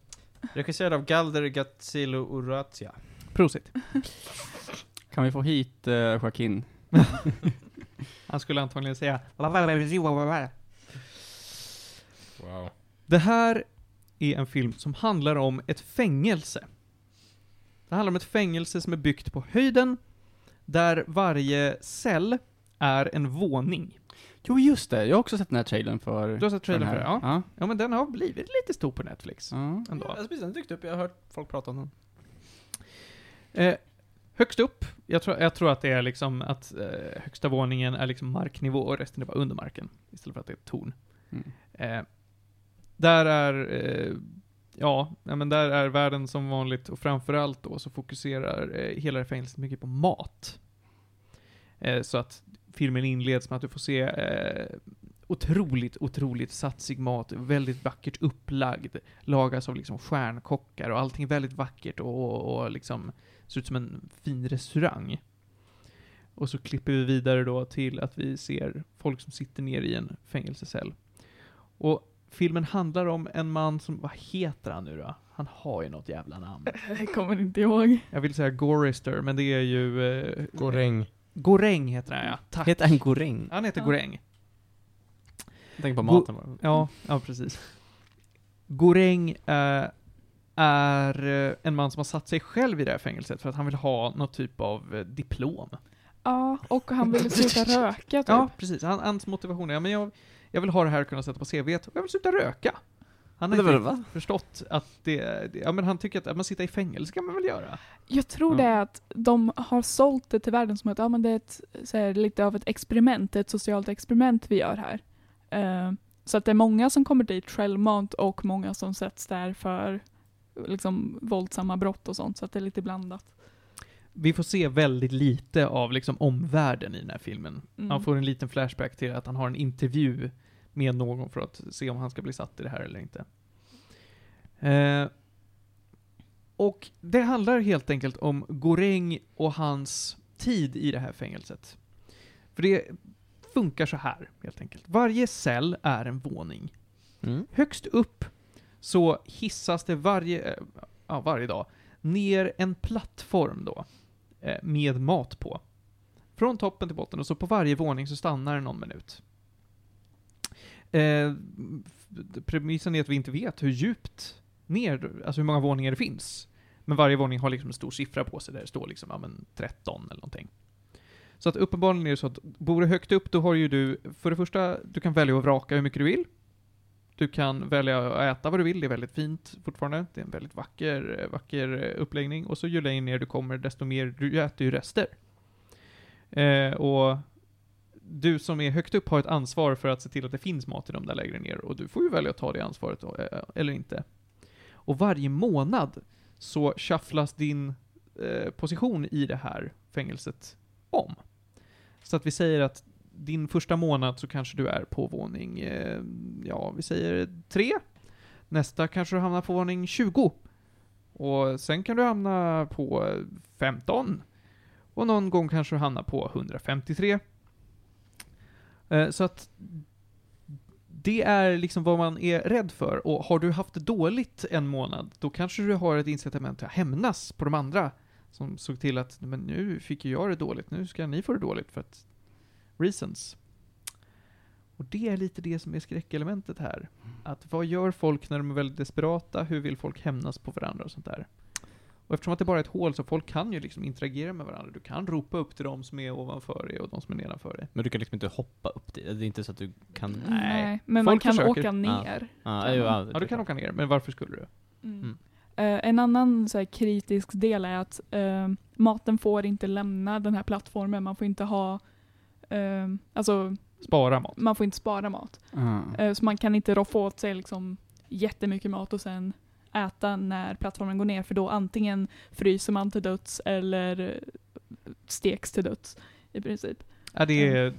Speaker 3: regisserad av Galder Gazzilo Urratia.
Speaker 2: Prosit.
Speaker 1: Kan vi få hit uh, Joaquin?
Speaker 2: Han skulle antagligen säga
Speaker 5: Wow.
Speaker 2: Det här är en film som handlar om ett fängelse. Det handlar om ett fängelse som är byggt på höjden, där varje cell är en våning.
Speaker 1: Jo, just det. Jag har också sett den här trailern för...
Speaker 2: Du har sett trailern för det? Ja.
Speaker 1: Ja.
Speaker 2: ja, men den har blivit lite stor på Netflix.
Speaker 1: ja.
Speaker 3: Ja,
Speaker 2: Ändå.
Speaker 3: alltså, precis, den dykt upp, jag har hört folk prata om den.
Speaker 2: Eh, högst upp, jag tror, jag tror att det är liksom att eh, högsta våningen är liksom marknivå och resten är bara under marken. Istället för att det är ett torn.
Speaker 1: Mm.
Speaker 2: Eh, där är, eh, ja, nej, men där är världen som vanligt och framförallt då så fokuserar eh, hela det här fängelset mycket på mat. Eh, så att filmen inleds med att du får se eh, otroligt, otroligt satsig mat, väldigt vackert upplagd, lagas av liksom stjärnkockar och allting är väldigt vackert och, och, och liksom ser ut som en fin restaurang. Och så klipper vi vidare då till att vi ser folk som sitter ner i en fängelsecell. Och filmen handlar om en man som, vad heter han nu då? Han har ju något jävla namn.
Speaker 4: Jag kommer inte ihåg.
Speaker 2: Jag vill säga Gorister, men det är ju... Eh,
Speaker 5: Goräng.
Speaker 2: Goreng heter han ja. Tack.
Speaker 3: Heter han Goreng?
Speaker 2: Han heter
Speaker 4: Ja.
Speaker 2: Goreng.
Speaker 3: Tänk på maten bara.
Speaker 2: Ja, ja precis. Goreng eh, är eh, en man som har satt sig själv i det här fängelset för att han vill ha något typ av eh, diplom.
Speaker 4: Ja, och han ville sluta *laughs* röka typ.
Speaker 2: Ja, precis. Han, hans motivation är, ja, men jag, jag vill ha det här och kunna sätta på CVt och jag vill sluta röka. Han har
Speaker 3: Det
Speaker 2: inte
Speaker 3: var-
Speaker 2: riktigt förstått att det, det, ja men han tycker att, att man sitter i fängelse kan man väl göra?
Speaker 4: Jag tror
Speaker 1: Ja.
Speaker 4: det är att de har sålt det till världen som att ja, men det är ett, så här, lite av ett experiment, ett socialt experiment vi gör här. Eh, så att det är många som kommer dit självmant och många som sätts där för liksom våldsamma brott och sånt, så att det är lite blandat.
Speaker 2: Vi får se väldigt lite av liksom omvärlden i den här filmen.
Speaker 4: Mm.
Speaker 2: Han får en liten flashback till att han har en intervju med någon för att se om han ska bli satt i det här eller inte. Eh, och det handlar helt enkelt om Goreng och hans tid i det här fängelset. För det funkar så här, helt enkelt. Varje cell är en våning.
Speaker 3: Mm.
Speaker 2: Högst upp så hissas det varje, eh, ja, varje dag ner en plattform då eh, med mat på. Från toppen till botten och så på varje våning så stannar det någon minut. Eh, f- premissen är att vi inte vet hur djupt ner, alltså hur många våningar det finns. Men varje våning har liksom en stor siffra på sig där det står liksom, ja men 13 eller någonting. Så att uppenbarligen är det så att bor du högt upp då har ju du, för det första, du kan välja att vraka hur mycket du vill. Du kan välja att äta vad du vill, det är väldigt fint fortfarande. Det är en väldigt vacker, vacker uppläggning. Och så ju längre ner du kommer, desto mer du äter ju rester. Eh, och du som är högt upp har ett ansvar för att se till att det finns mat i de där lägre ner. Och du får ju välja att ta det ansvaret då, eh, eller inte. Och varje månad så shufflas din eh, position i det här fängelset om. Så att vi säger att din första månad så kanske du är på våning, eh, ja, vi säger tre. Nästa kanske du hamnar på våning 20. Och sen kan du hamna på eh, 15. Och någon gång kanske du hamnar på 153. Eh, så att det är liksom vad man är rädd för. Och har du haft det dåligt en månad, då kanske du har ett incitament till att hämnas på de andra. Som såg till att, men nu fick ju jag det dåligt, nu ska ni få det dåligt för att reasons. Och det är lite det som är skräckelementet här. Att vad gör folk när de är väldigt desperata? Hur vill folk hämnas på varandra och sånt där? Och eftersom att det bara är ett hål så folk kan ju liksom interagera med varandra. Du kan ropa upp till de som är ovanför dig och de som är nedanför dig.
Speaker 3: Men du kan liksom inte hoppa upp dit, det är inte så att du kan...
Speaker 4: men man
Speaker 2: Folk
Speaker 4: kan
Speaker 2: försöker.
Speaker 4: åka ner.
Speaker 3: Ja, jo,
Speaker 2: Ja, du kan åka ner, men varför skulle du?
Speaker 4: Mm.
Speaker 3: Mm.
Speaker 4: Eh, en annan så här, kritisk del är att eh, maten får inte lämna den här plattformen. Man får inte ha, eh, alltså
Speaker 2: Spara mat.
Speaker 4: man får inte spara mat.
Speaker 1: Ah.
Speaker 4: Eh, Så man kan inte roffa åt sig liksom jättemycket mat och sen äta när plattformen går ner för då antingen fryser man till döds eller eh, steks till döds i princip.
Speaker 2: Ja, det, är,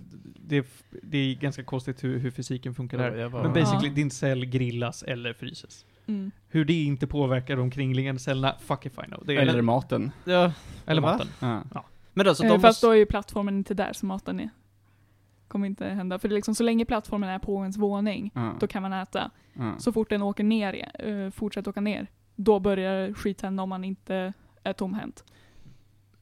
Speaker 2: det, är, det är ganska konstigt hur, hur fysiken funkar där. Men basically, din cell grillas eller fryses.
Speaker 4: Mm.
Speaker 2: Hur det inte påverkar de kringliggande cellerna, fuck if I know. Det är,
Speaker 1: Eller maten.
Speaker 3: Ja.
Speaker 2: eller
Speaker 3: Va?
Speaker 2: maten.
Speaker 1: Ah.
Speaker 3: Men då, så
Speaker 4: Eh,
Speaker 3: de
Speaker 4: Fast
Speaker 3: måste...
Speaker 4: då är ju plattformen inte där så maten är. Kommer inte hända. För det är liksom, så länge plattformen är på ens våning
Speaker 1: Ah.
Speaker 4: då kan man äta.
Speaker 1: Ah.
Speaker 4: Så fort den åker ner, uh, fortsätter åka ner, då börjar skit hända om man inte är tomhänt.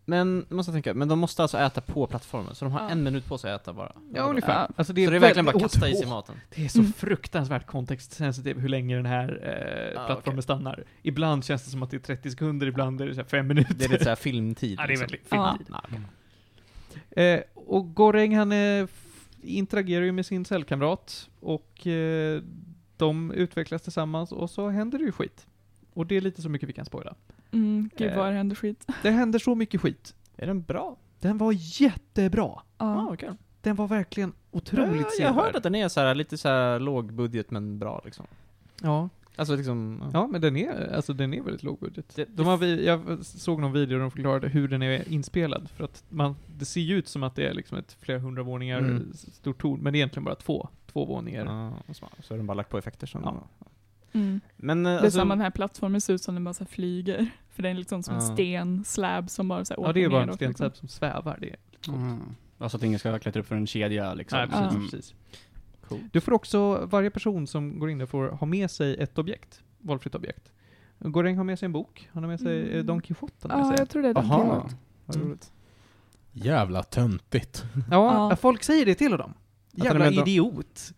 Speaker 3: Men, måste jag tänka, men de måste alltså äta på plattformen, så de har
Speaker 4: Ja.
Speaker 3: en minut på sig att äta bara.
Speaker 2: Ja, ungefär.
Speaker 4: Ja.
Speaker 2: Alltså
Speaker 3: så det är verkligen
Speaker 2: väldigt-
Speaker 3: bara att kasta i sig
Speaker 2: Åh,
Speaker 3: maten.
Speaker 2: Det är så
Speaker 4: Mm.
Speaker 2: fruktansvärt kontextsensitivt hur länge den här eh,
Speaker 3: Ah,
Speaker 2: plattformen
Speaker 3: okej.
Speaker 2: stannar. Ibland känns det som att det är 30 sekunder, ibland är det så här 5 minuter.
Speaker 3: Det är lite såhär filmtid.
Speaker 2: ja, det är
Speaker 3: liksom.
Speaker 2: väldigt
Speaker 4: Ja.
Speaker 2: fint. *laughs* Eh, och Goreng han eh, f- interagerar ju med sin cellkamrat och eh, de utvecklas tillsammans och så händer det ju skit. Och det är lite så mycket vi kan spoila.
Speaker 4: Mm, gud
Speaker 2: Eh.
Speaker 4: vad det händer skit.
Speaker 2: Det händer så mycket skit.
Speaker 3: Är den bra? Ah,
Speaker 2: Den var jättebra.
Speaker 4: Ja.
Speaker 3: okej.
Speaker 2: Den var verkligen
Speaker 3: Ja,
Speaker 2: otroligt
Speaker 3: Jag
Speaker 2: sevärd.
Speaker 3: hörde att den är så här, lite så här lågbudget men bra liksom.
Speaker 2: Ja.
Speaker 3: Alltså liksom...
Speaker 2: Ja, men den är, alltså, den är väldigt lågbudget.
Speaker 3: Det-
Speaker 2: De har, vi- jag såg någon video där de förklarade hur den är inspelad. För att man, det ser ju ut som att det är liksom ett flera hundra våningar
Speaker 3: Mm.
Speaker 2: s- stort torn, men det är egentligen bara två. Två våningar.
Speaker 3: Ja, och så, så har de bara lagt på effekter sen.
Speaker 2: Ja.
Speaker 4: Mm.
Speaker 3: Men eh,
Speaker 4: Det är
Speaker 3: alltså,
Speaker 4: samma den här plattformen ser ut som den bara så här flyger. För den är liksom som en
Speaker 3: Ja.
Speaker 4: sten slab som bara så här
Speaker 2: Ja, det är
Speaker 4: åker
Speaker 2: bara en
Speaker 4: neråt, liksom.
Speaker 2: stensäb som svävar. Det är.
Speaker 1: Mm. Alltså att ingen ska klättra upp för en kedja liksom.
Speaker 2: Nej, precis,
Speaker 1: Mm.
Speaker 2: precis.
Speaker 3: Cool.
Speaker 2: Du får också, varje person som går in där får ha med sig ett objekt. Valfritt objekt. Goring har med sig en bok. Han har med sig eh,
Speaker 4: Mm.
Speaker 2: Don Quijote.
Speaker 4: Liksom. Ja,
Speaker 2: Ja,
Speaker 4: jag tror det är den
Speaker 1: Aha.
Speaker 4: killen.
Speaker 2: Vad roligt.
Speaker 5: Jävla töntigt.
Speaker 2: ja,
Speaker 4: Ja.
Speaker 2: folk säger det till dem.
Speaker 3: den
Speaker 2: Jävla
Speaker 3: är med-
Speaker 2: idiot.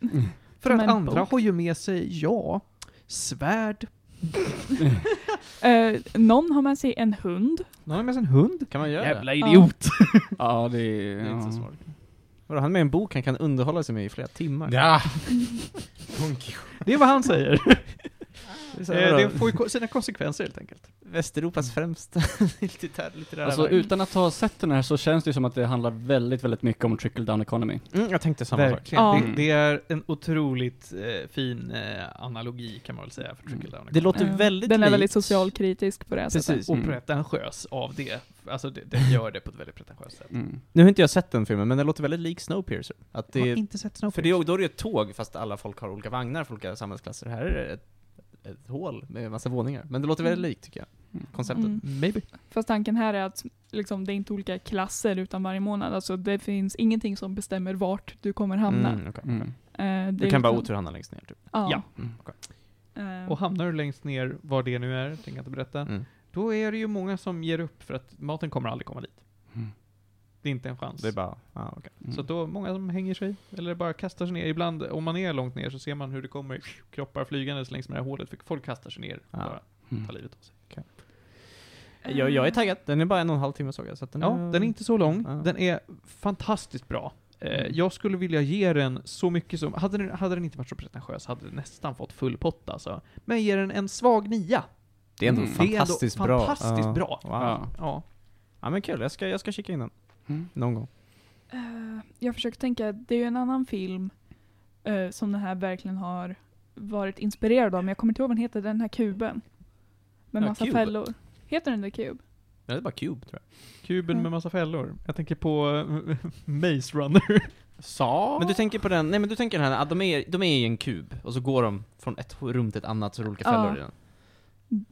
Speaker 2: För
Speaker 4: Som
Speaker 2: att
Speaker 4: en
Speaker 2: andra
Speaker 4: bok.
Speaker 2: har ju med sig, ja, svärd.
Speaker 4: Eh, någon har med sig en hund.
Speaker 2: Någon har med sig en hund.
Speaker 3: kan man göra det?
Speaker 6: Jävla
Speaker 4: Ja.
Speaker 6: idiot.
Speaker 1: Ja, det är...
Speaker 3: Det är inte så
Speaker 1: Ja.
Speaker 3: svårt. Vadå, han med en bok han kan underhålla sig med i flera timmar?
Speaker 5: Ja. Don Quijote.
Speaker 2: Det är vad han säger.
Speaker 3: Det är så här,
Speaker 2: Eh,
Speaker 3: vadå,
Speaker 2: det får ju ko- sina konsekvenser helt enkelt.
Speaker 3: Västeuropas
Speaker 2: Mm.
Speaker 3: främsta litterär, litterära
Speaker 1: Alltså
Speaker 3: verk.
Speaker 1: utan att ha sett den här så känns det ju som att det handlar väldigt, väldigt mycket om trickle down economy.
Speaker 3: mm, jag tänkte samma sak.
Speaker 2: Verkligen.
Speaker 4: Ja.
Speaker 2: Det, det är en otroligt eh, fin eh, analogi kan man väl säga för trickle down.
Speaker 3: Det låter
Speaker 4: Eh,
Speaker 3: väldigt
Speaker 4: den är
Speaker 3: likt-
Speaker 4: väldigt socialkritisk på det här sättet.
Speaker 3: Precis.
Speaker 2: och
Speaker 1: Mm.
Speaker 2: pretentiös av det. Alltså det, det gör det på ett väldigt pretentiöst sätt.
Speaker 1: Mm.
Speaker 3: Nu har inte jag sett den filmen, men den låter väldigt lik Snowpiercer. Att det,
Speaker 2: inte sett Snowpiercer.
Speaker 3: för det, är- då är det ett tåg, fast alla folk har olika vagnar för olika samhällsklasser. Här är det ett, ett hål med massa våningar. Men det låter väldigt likt, tycker jag.
Speaker 1: Mm.
Speaker 3: Konceptet.
Speaker 4: Mm.
Speaker 2: Maybe.
Speaker 4: Fast tanken här är att liksom, det är inte olika klasser utan varje månad. Alltså, det finns ingenting som bestämmer vart du kommer hamna.
Speaker 3: Mm, okej.
Speaker 1: Mm.
Speaker 4: Eh, det
Speaker 3: Du
Speaker 4: är
Speaker 3: kan bara
Speaker 4: liksom-
Speaker 3: otur hamna längst ner, typ.
Speaker 4: Ja.
Speaker 2: Ja.
Speaker 3: Mm, okej.
Speaker 4: Eh,
Speaker 2: Och hamnar du längst ner, var det nu är, tänker jag inte berätta.
Speaker 3: Mm.
Speaker 2: Då är det ju många som ger upp för att maten kommer aldrig komma dit.
Speaker 1: Mm.
Speaker 2: Det är inte en chans.
Speaker 3: Det är bara, ah, okej.
Speaker 1: Mm.
Speaker 2: Så att då, många som hänger sig, eller bara kastar sig ner. Ibland, om man är långt ner, så ser man hur det kommer kroppar flygandes längs med det här hålet, för folk kastar sig ner och
Speaker 3: Ja.
Speaker 2: bara
Speaker 1: Mm.
Speaker 2: tar livet av sig.
Speaker 4: eh,
Speaker 3: Jag, jag är taggad. Den är bara en och en halv timme såg jag, så att den
Speaker 2: Ja,
Speaker 3: är...
Speaker 2: den är inte så lång.
Speaker 3: Ja.
Speaker 2: Den är fantastiskt bra. Eh,
Speaker 3: Mm.
Speaker 2: jag skulle vilja ge den så mycket som... Hade den, hade den inte varit så pretentiös hade den nästan fått full pott alltså. Men jag ger den en svag nia.
Speaker 3: Det är ändå
Speaker 1: Mm.
Speaker 3: fantastiskt
Speaker 2: Det är ändå
Speaker 3: bra.
Speaker 2: fantastiskt
Speaker 3: Ja.
Speaker 2: bra.
Speaker 3: Wow. Ja.
Speaker 1: Ja.
Speaker 2: Ja.
Speaker 3: men kul. Jag ska, jag ska kika in den.
Speaker 1: Mm.
Speaker 3: Någon gång.
Speaker 4: Eh, jag försöker tänka, det är ju en annan film eh, som den här verkligen har varit inspirerad av, men jag kommer inte ihåg vad den heter, den här kuben. Med
Speaker 3: Ja,
Speaker 4: massa
Speaker 3: Cube.
Speaker 4: fällor. Heter den The Cube?
Speaker 3: Det är bara Cube, tror jag.
Speaker 2: Kuben
Speaker 4: Mm.
Speaker 2: med massa fällor. Jag tänker på
Speaker 3: *laughs*
Speaker 2: eh, Maze Runner.
Speaker 1: Sa?
Speaker 3: Men du tänker på den, nej men du tänker den här, ah, de är, de är i en kub, och så går de från ett rum till ett annat, så är det olika fällor
Speaker 4: Ja.
Speaker 3: i den.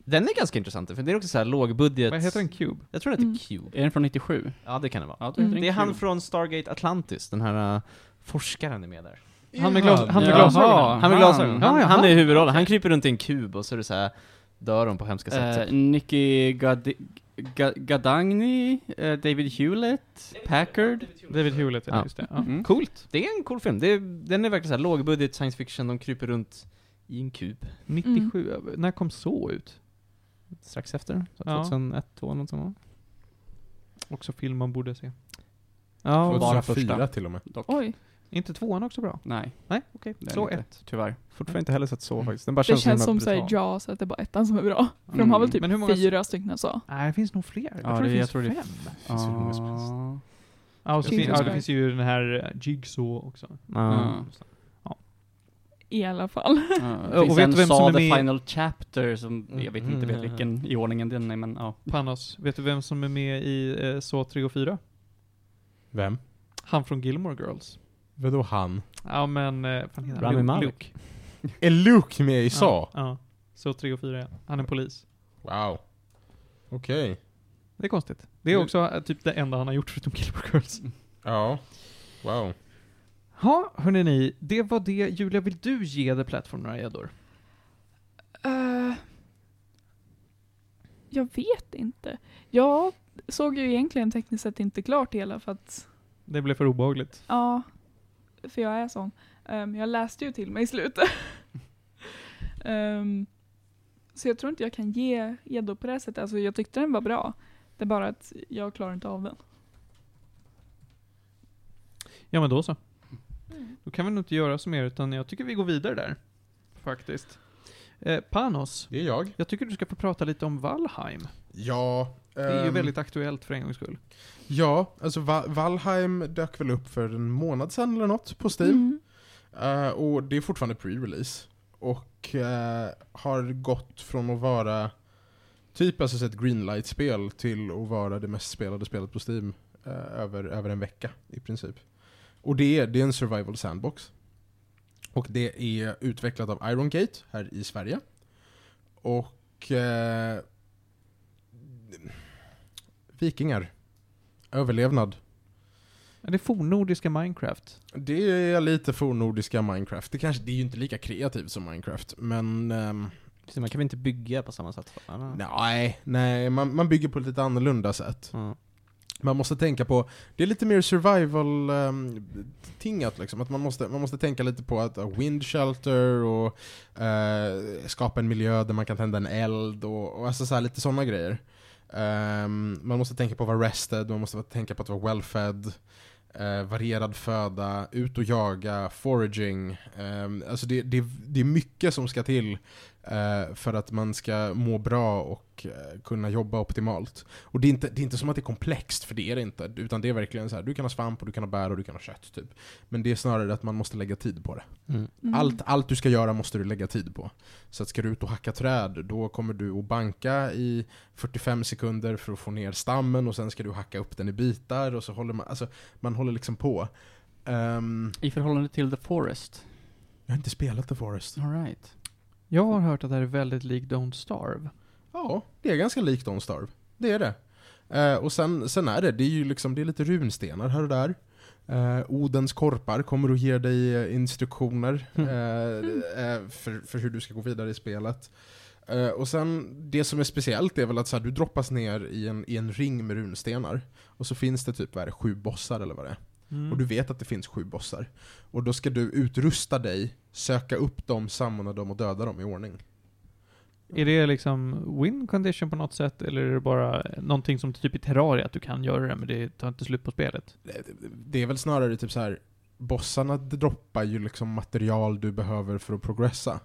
Speaker 3: Den är ganska intressant, för det är också så här lågbudget...
Speaker 2: Vad heter den? Cube?
Speaker 3: Jag tror den heter
Speaker 4: Mm.
Speaker 3: Cube.
Speaker 1: Är den från 97?
Speaker 3: Ja, det kan det vara.
Speaker 1: Ja, då heter
Speaker 4: Mm.
Speaker 1: den
Speaker 3: Det är han
Speaker 1: Cube.
Speaker 3: från Stargate Atlantis, den här äh, forskaren är med där.
Speaker 2: Han med glas- han med
Speaker 1: Jaha.
Speaker 2: glasögonen.
Speaker 3: Han med glasögon.
Speaker 2: Ja,
Speaker 3: Han,
Speaker 2: ja,
Speaker 3: han är
Speaker 2: han.
Speaker 3: huvudrollen, han kryper runt i en kub och så är det så här dör de på hemska sätt.
Speaker 1: Eh,
Speaker 3: typ.
Speaker 1: Nicky Gad- Ga- Gadagni, eh, David Hewlett, Packard.
Speaker 2: David Hewlett, ja.
Speaker 3: Ja.
Speaker 2: just det. Ja.
Speaker 1: Mm.
Speaker 3: Coolt! Det är en cool film. Det är, den är verkligen så här lågbudget science fiction, de kryper runt i en kub.
Speaker 2: 97, eh, när kom så ut?
Speaker 3: Strax efter, så
Speaker 2: Ja.
Speaker 3: 2001, 2002 något sånt.
Speaker 2: Också film man borde se.
Speaker 3: Ja,
Speaker 1: Bara
Speaker 3: bara
Speaker 5: 2004 till och med.
Speaker 1: Dock.
Speaker 4: Oj.
Speaker 2: Är inte tvåan också bra?
Speaker 1: Nej,
Speaker 2: Nej, okej.
Speaker 1: det är
Speaker 2: Så
Speaker 1: den
Speaker 2: ett. Mm.
Speaker 1: inte, tyvärr.
Speaker 3: Fortfarande inte heller sett så faktiskt. Den bara
Speaker 4: Det
Speaker 3: känns,
Speaker 4: känns
Speaker 3: så himla
Speaker 4: som såhär
Speaker 3: brutal.
Speaker 4: Jaws, att det är bara ettan som är bra. För de har
Speaker 3: Mm.
Speaker 4: väl typ
Speaker 2: Men hur många-
Speaker 4: fyra stycken så.
Speaker 2: Nej, det finns nog fler. Jag
Speaker 1: Ja,
Speaker 2: tror det,
Speaker 1: det- jag
Speaker 2: finns
Speaker 1: tror det är
Speaker 2: fem.
Speaker 5: finns hur många som helst.
Speaker 1: Ah.
Speaker 2: Ja, och så
Speaker 4: Jag
Speaker 2: fin-
Speaker 4: tror
Speaker 2: ja,
Speaker 4: det.
Speaker 2: det finns ju den här eh, Jigsaw också.
Speaker 3: Ja.
Speaker 4: I alla fall.
Speaker 1: Ja,
Speaker 2: Och
Speaker 1: det finns
Speaker 2: vet
Speaker 1: en
Speaker 2: du vem som
Speaker 1: Saw
Speaker 2: är
Speaker 1: The
Speaker 2: med i-
Speaker 1: Final Chapter som, jag vet inte
Speaker 3: Mm.
Speaker 1: vilken i ordningen den är men ja.
Speaker 2: Panos, vet du vem som är med i eh, Saw 3 och 4?
Speaker 5: Vem?
Speaker 2: Han från Gilmore Girls.
Speaker 5: Vadå han?
Speaker 2: Ja, men... Eh, fan heter
Speaker 3: Rami
Speaker 2: han? Luke-
Speaker 3: Malek.
Speaker 2: Luke.
Speaker 5: Är Luke med i Saw?
Speaker 2: Ja. ja. Saw 3 och 4, ja. Han är polis.
Speaker 5: Wow. Okej.
Speaker 2: Det är konstigt. Det är också eh, typ det enda han har gjort förutom Gilmore Girls.
Speaker 5: Ja. Wow.
Speaker 2: Ja, hörni ni. Det var det. Julia, vill du ge The Platform några gäddor?
Speaker 4: Eh, jag vet inte. Jag såg ju egentligen tekniskt sett inte klart hela för att
Speaker 2: Det blev för obehagligt.
Speaker 4: Ja, för jag är sån. Ehm, jag läste ju till mig i slutet.
Speaker 2: *laughs*
Speaker 4: Ehm, så jag tror inte jag kan ge gäddor på det här sättet. Alltså, jag tyckte den var bra. Det är bara att jag klarar inte av den.
Speaker 2: Ja, men då så.
Speaker 5: Mm.
Speaker 2: Då kan vi nog inte göra så mer, utan jag tycker vi går vidare där. Faktiskt. Eh, Panos,
Speaker 5: Det är jag.
Speaker 2: jag tycker du ska få prata lite om Valheim.
Speaker 5: Ja.
Speaker 2: Det är ju
Speaker 5: ehm,
Speaker 2: väldigt aktuellt för en gångs skull.
Speaker 5: Ja, alltså Va- Valheim dök
Speaker 4: Mm.
Speaker 5: väl upp för en månad sedan eller något på Steam. Eh, och det är fortfarande pre-release. Och eh, har gått från att vara typ alltså ett greenlight-spel till att vara det mest spelade spelet på Steam eh, över, över en vecka i princip. Och det är, det är en survival sandbox. Och det är utvecklat av Iron Gate här i Sverige. Och... Eh, vikingar. Överlevnad.
Speaker 2: Ja, det är fornnordiska Minecraft.
Speaker 5: Det är lite fornnordiska Minecraft. Det, kanske, det är ju inte lika kreativt som Minecraft, men... ehm,
Speaker 3: Precis, Man kan väl inte bygga på samma sätt? va?
Speaker 5: nej, nej man, man bygger på ett lite annorlunda sätt.
Speaker 3: Mm.
Speaker 5: Man måste tänka på, det är lite mer survival-tingat liksom. Att man måste, man måste tänka lite på att ha wind shelter och eh, skapa en miljö där man kan tända en eld och, och alltså så här, lite sådana grejer. Ehm, man måste tänka på att vara rested, man måste tänka på att vara well-fed, eh, varierad föda, ut och jaga, foraging. Ehm, alltså det, det, det är mycket som ska till eh, för att man ska må bra och eh, kunna jobba optimalt. Och det är, inte, det är inte som att det är komplext, för det är det inte. Utan det är verkligen så här, du kan ha svamp och du kan ha bär och du kan ha kött typ. Men det är snarare att man måste lägga tid på det.
Speaker 4: Mm.
Speaker 5: Allt, allt du ska göra måste du lägga tid på. Så att ska du ut och hacka träd, då kommer du att banka i 45 sekunder för att få ner stammen och sen ska du hacka upp den i bitar och så håller man, alltså man håller liksom på. Ehm,
Speaker 1: I förhållande till The Forest.
Speaker 5: jag har inte spelat The Forest.
Speaker 1: Alright.
Speaker 2: Jag har hört att det här är väldigt likt Don't Starve.
Speaker 5: Ja, det är ganska likt Don't Starve. Det är det. Eh, och sen, sen är det, det är ju liksom, det är lite runstenar här och där. Eh, Odens korpar kommer att ge dig eh, instruktioner eh, eh, för, för hur du ska gå vidare i spelet. Eh, och sen, det som är speciellt är väl att så här, du droppas ner i en, i en ring med runstenar. Och så finns det typ, vad är det, sju bossar eller vad det är.
Speaker 2: Mm.
Speaker 5: Och du vet att det finns sju bossar. Och då ska du utrusta dig, söka upp dem, samla dem och döda dem i ordning.
Speaker 2: Är det liksom win condition på något sätt, eller är det bara någonting som typ i Terraria, att du kan göra det, men det tar inte slut på spelet?
Speaker 5: det är väl snarare typ så här. bossarna droppar ju liksom material du behöver för att progressa.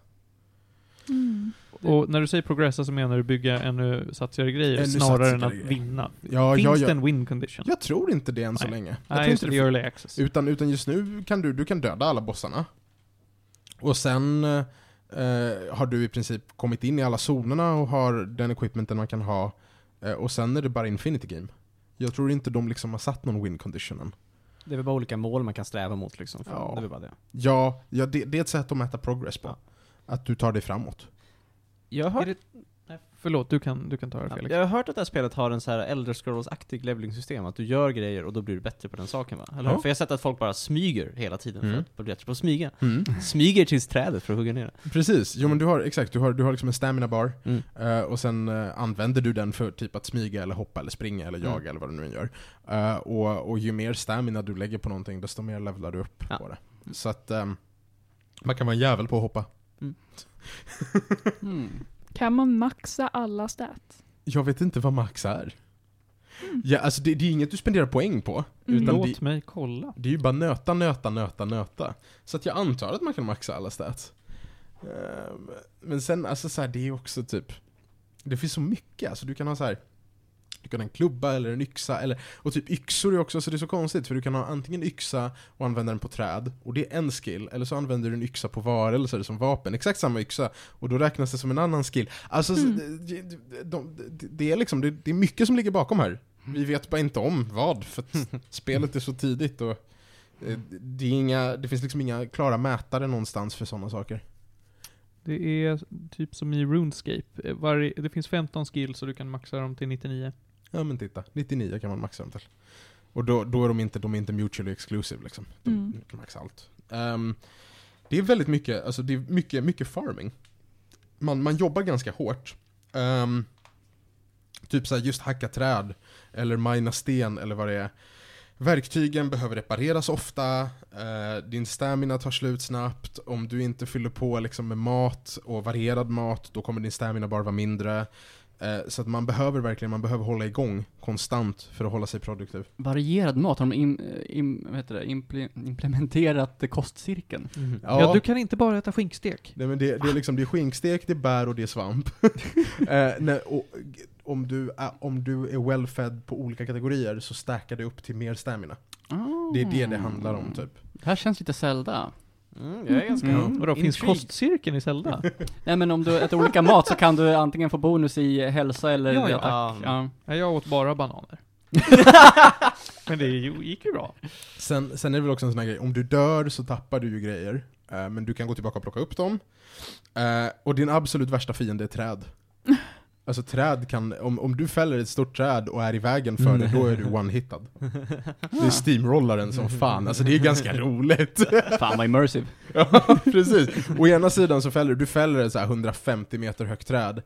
Speaker 4: Mm.
Speaker 2: Och när du säger progressa så menar du bygga ännu satsigare grejer,
Speaker 5: Ännu
Speaker 2: snarare än
Speaker 5: satsigare
Speaker 2: att
Speaker 5: grejer.
Speaker 2: vinna.
Speaker 5: Ja,
Speaker 2: Finns
Speaker 5: jag,
Speaker 2: det
Speaker 5: jag,
Speaker 2: en win condition?
Speaker 5: jag tror inte det än så länge. Jag
Speaker 2: Nej,
Speaker 5: tror
Speaker 2: just
Speaker 5: inte
Speaker 2: det, det är early access.
Speaker 5: Utan, utan just nu kan du, du kan döda alla bossarna. Och sen eh, har du i princip kommit in i alla zonerna och har den equipmenten man kan ha. Eh, och sen är det bara Infinity Game. Jag tror inte de liksom har satt någon win condition än.
Speaker 3: Det är väl bara olika mål man kan sträva mot liksom. För
Speaker 5: Ja.
Speaker 3: Det är väl bara det.
Speaker 5: Ja, ja det, det är ett sätt att mäta progress på.
Speaker 3: Ja.
Speaker 5: Att du tar dig framåt.
Speaker 3: Jag har,
Speaker 2: Är det- Förlåt, du kan, du kan ta det
Speaker 3: ja,
Speaker 2: Felix.
Speaker 3: jag har
Speaker 5: liksom.
Speaker 3: hört att det här spelet har en så här Elder Scrolls-aktig levelingsystem, att du gör grejer och då blir du bättre på den saken va? Eller hur?
Speaker 5: Ja.
Speaker 3: För jag har sett att folk bara smyger hela tiden
Speaker 5: Mm.
Speaker 3: för att bli bättre på att smyga.
Speaker 2: Mm.
Speaker 3: Smyger tills trädet för att hugga ner det.
Speaker 5: Precis, jo men du har, exakt, du har, du har liksom en stamina bar
Speaker 3: Mm.
Speaker 5: eh, och sen eh, använder du den för typ att smyga eller hoppa eller springa eller
Speaker 3: Mm.
Speaker 5: jaga eller vad du nu än gör. Eh, och, och ju mer stamina du lägger på någonting desto mer levlar du upp
Speaker 3: Ja.
Speaker 5: på det. Så att ehm, man kan vara en jävel på att hoppa.
Speaker 1: Mm.
Speaker 4: Kan man maxa alla stat?
Speaker 5: Jag vet inte vad max är. Ja, alltså det, det är inget du spenderar poäng på.
Speaker 4: Mm.
Speaker 5: Utan det,
Speaker 2: Låt mig kolla.
Speaker 5: det är ju bara nöta, nöta, nöta, nöta. Så att jag antar att man kan maxa alla stats. Ehm, Men sen, alltså så här, det är ju också typ... Det finns så mycket, alltså du kan ha så här. Du kan ha en klubba eller en yxa, eller, och typ yxor är också, så det är så konstigt för du kan ha antingen yxa och använda den på träd, och det är en skill, eller så använder du en yxa på varelser som vapen, exakt samma yxa, och då räknas det som en annan skill. Alltså, så-
Speaker 4: Mm.
Speaker 5: det, det, de, det, det är liksom, det, det är mycket som ligger bakom här. Vi vet bara inte om vad, för att spelet är så tidigt och eh, det, är inga, det finns liksom inga klara mätare någonstans för sådana saker.
Speaker 2: Det är typ som i RuneScape. Eh, Varje, det finns 15 skills och du kan maxa dem till 99.
Speaker 5: Ja men titta, 99 kan man maxa dem till. Och då, då är de inte, de är inte mutually exclusive liksom. De
Speaker 4: Mm.
Speaker 5: kan maxa allt. Ehm, det är väldigt mycket, alltså det är mycket, mycket farming. Man, man jobbar ganska hårt. Ehm, typ såhär just hacka träd, eller mina sten eller vad det är. Verktygen behöver repareras ofta, eh, din stamina tar slut snabbt, om du inte fyller på liksom med mat och varierad mat, då kommer din stamina bara vara mindre. Eh, Så att man behöver verkligen, man behöver hålla igång konstant för att hålla sig produktiv.
Speaker 1: Varierad mat, har de im, im, vad heter det, imple, implementerat kostcirkeln?
Speaker 5: Mm.
Speaker 2: Ja. du kan inte bara äta skinkstek.
Speaker 5: Nej, men det, det, är liksom, det är skinkstek, det är bär och det är svamp.
Speaker 2: *laughs*
Speaker 5: eh, nej, och, g- om, du är, om du är well-fed på olika kategorier så stackar det upp till mer stamina. Det är det det handlar om typ.
Speaker 1: Det här känns lite Zelda.
Speaker 3: Mm, jag är ganska...
Speaker 1: Mm.
Speaker 2: Vadå, finns
Speaker 3: Intrigued. *laughs*
Speaker 2: kostcirkeln i Zelda?
Speaker 1: Nej men om du äter olika mat så kan du antingen få bonus i hälsa eller
Speaker 2: Ja, ja.
Speaker 1: attack. Ja.
Speaker 2: Nej, jag åt bara bananer. Men det ju- gick ju bra.
Speaker 5: Sen, sen är det väl också en sån här grej, om du dör så tappar du ju grejer. eh, men du kan gå tillbaka och plocka upp dem. Eh, och din absolut värsta fiende
Speaker 2: *laughs*
Speaker 5: är träd. Alltså träd kan, om, om du fäller ett stort träd och är i vägen för det,
Speaker 2: *laughs*
Speaker 5: då är du one-hittad. Du steamrollar den som fan, alltså det är ganska roligt. *laughs*
Speaker 1: Fan vad immersive.
Speaker 5: ja, precis. Å ena sidan så fäller du, du fäller ett så här 150 meter högt träd.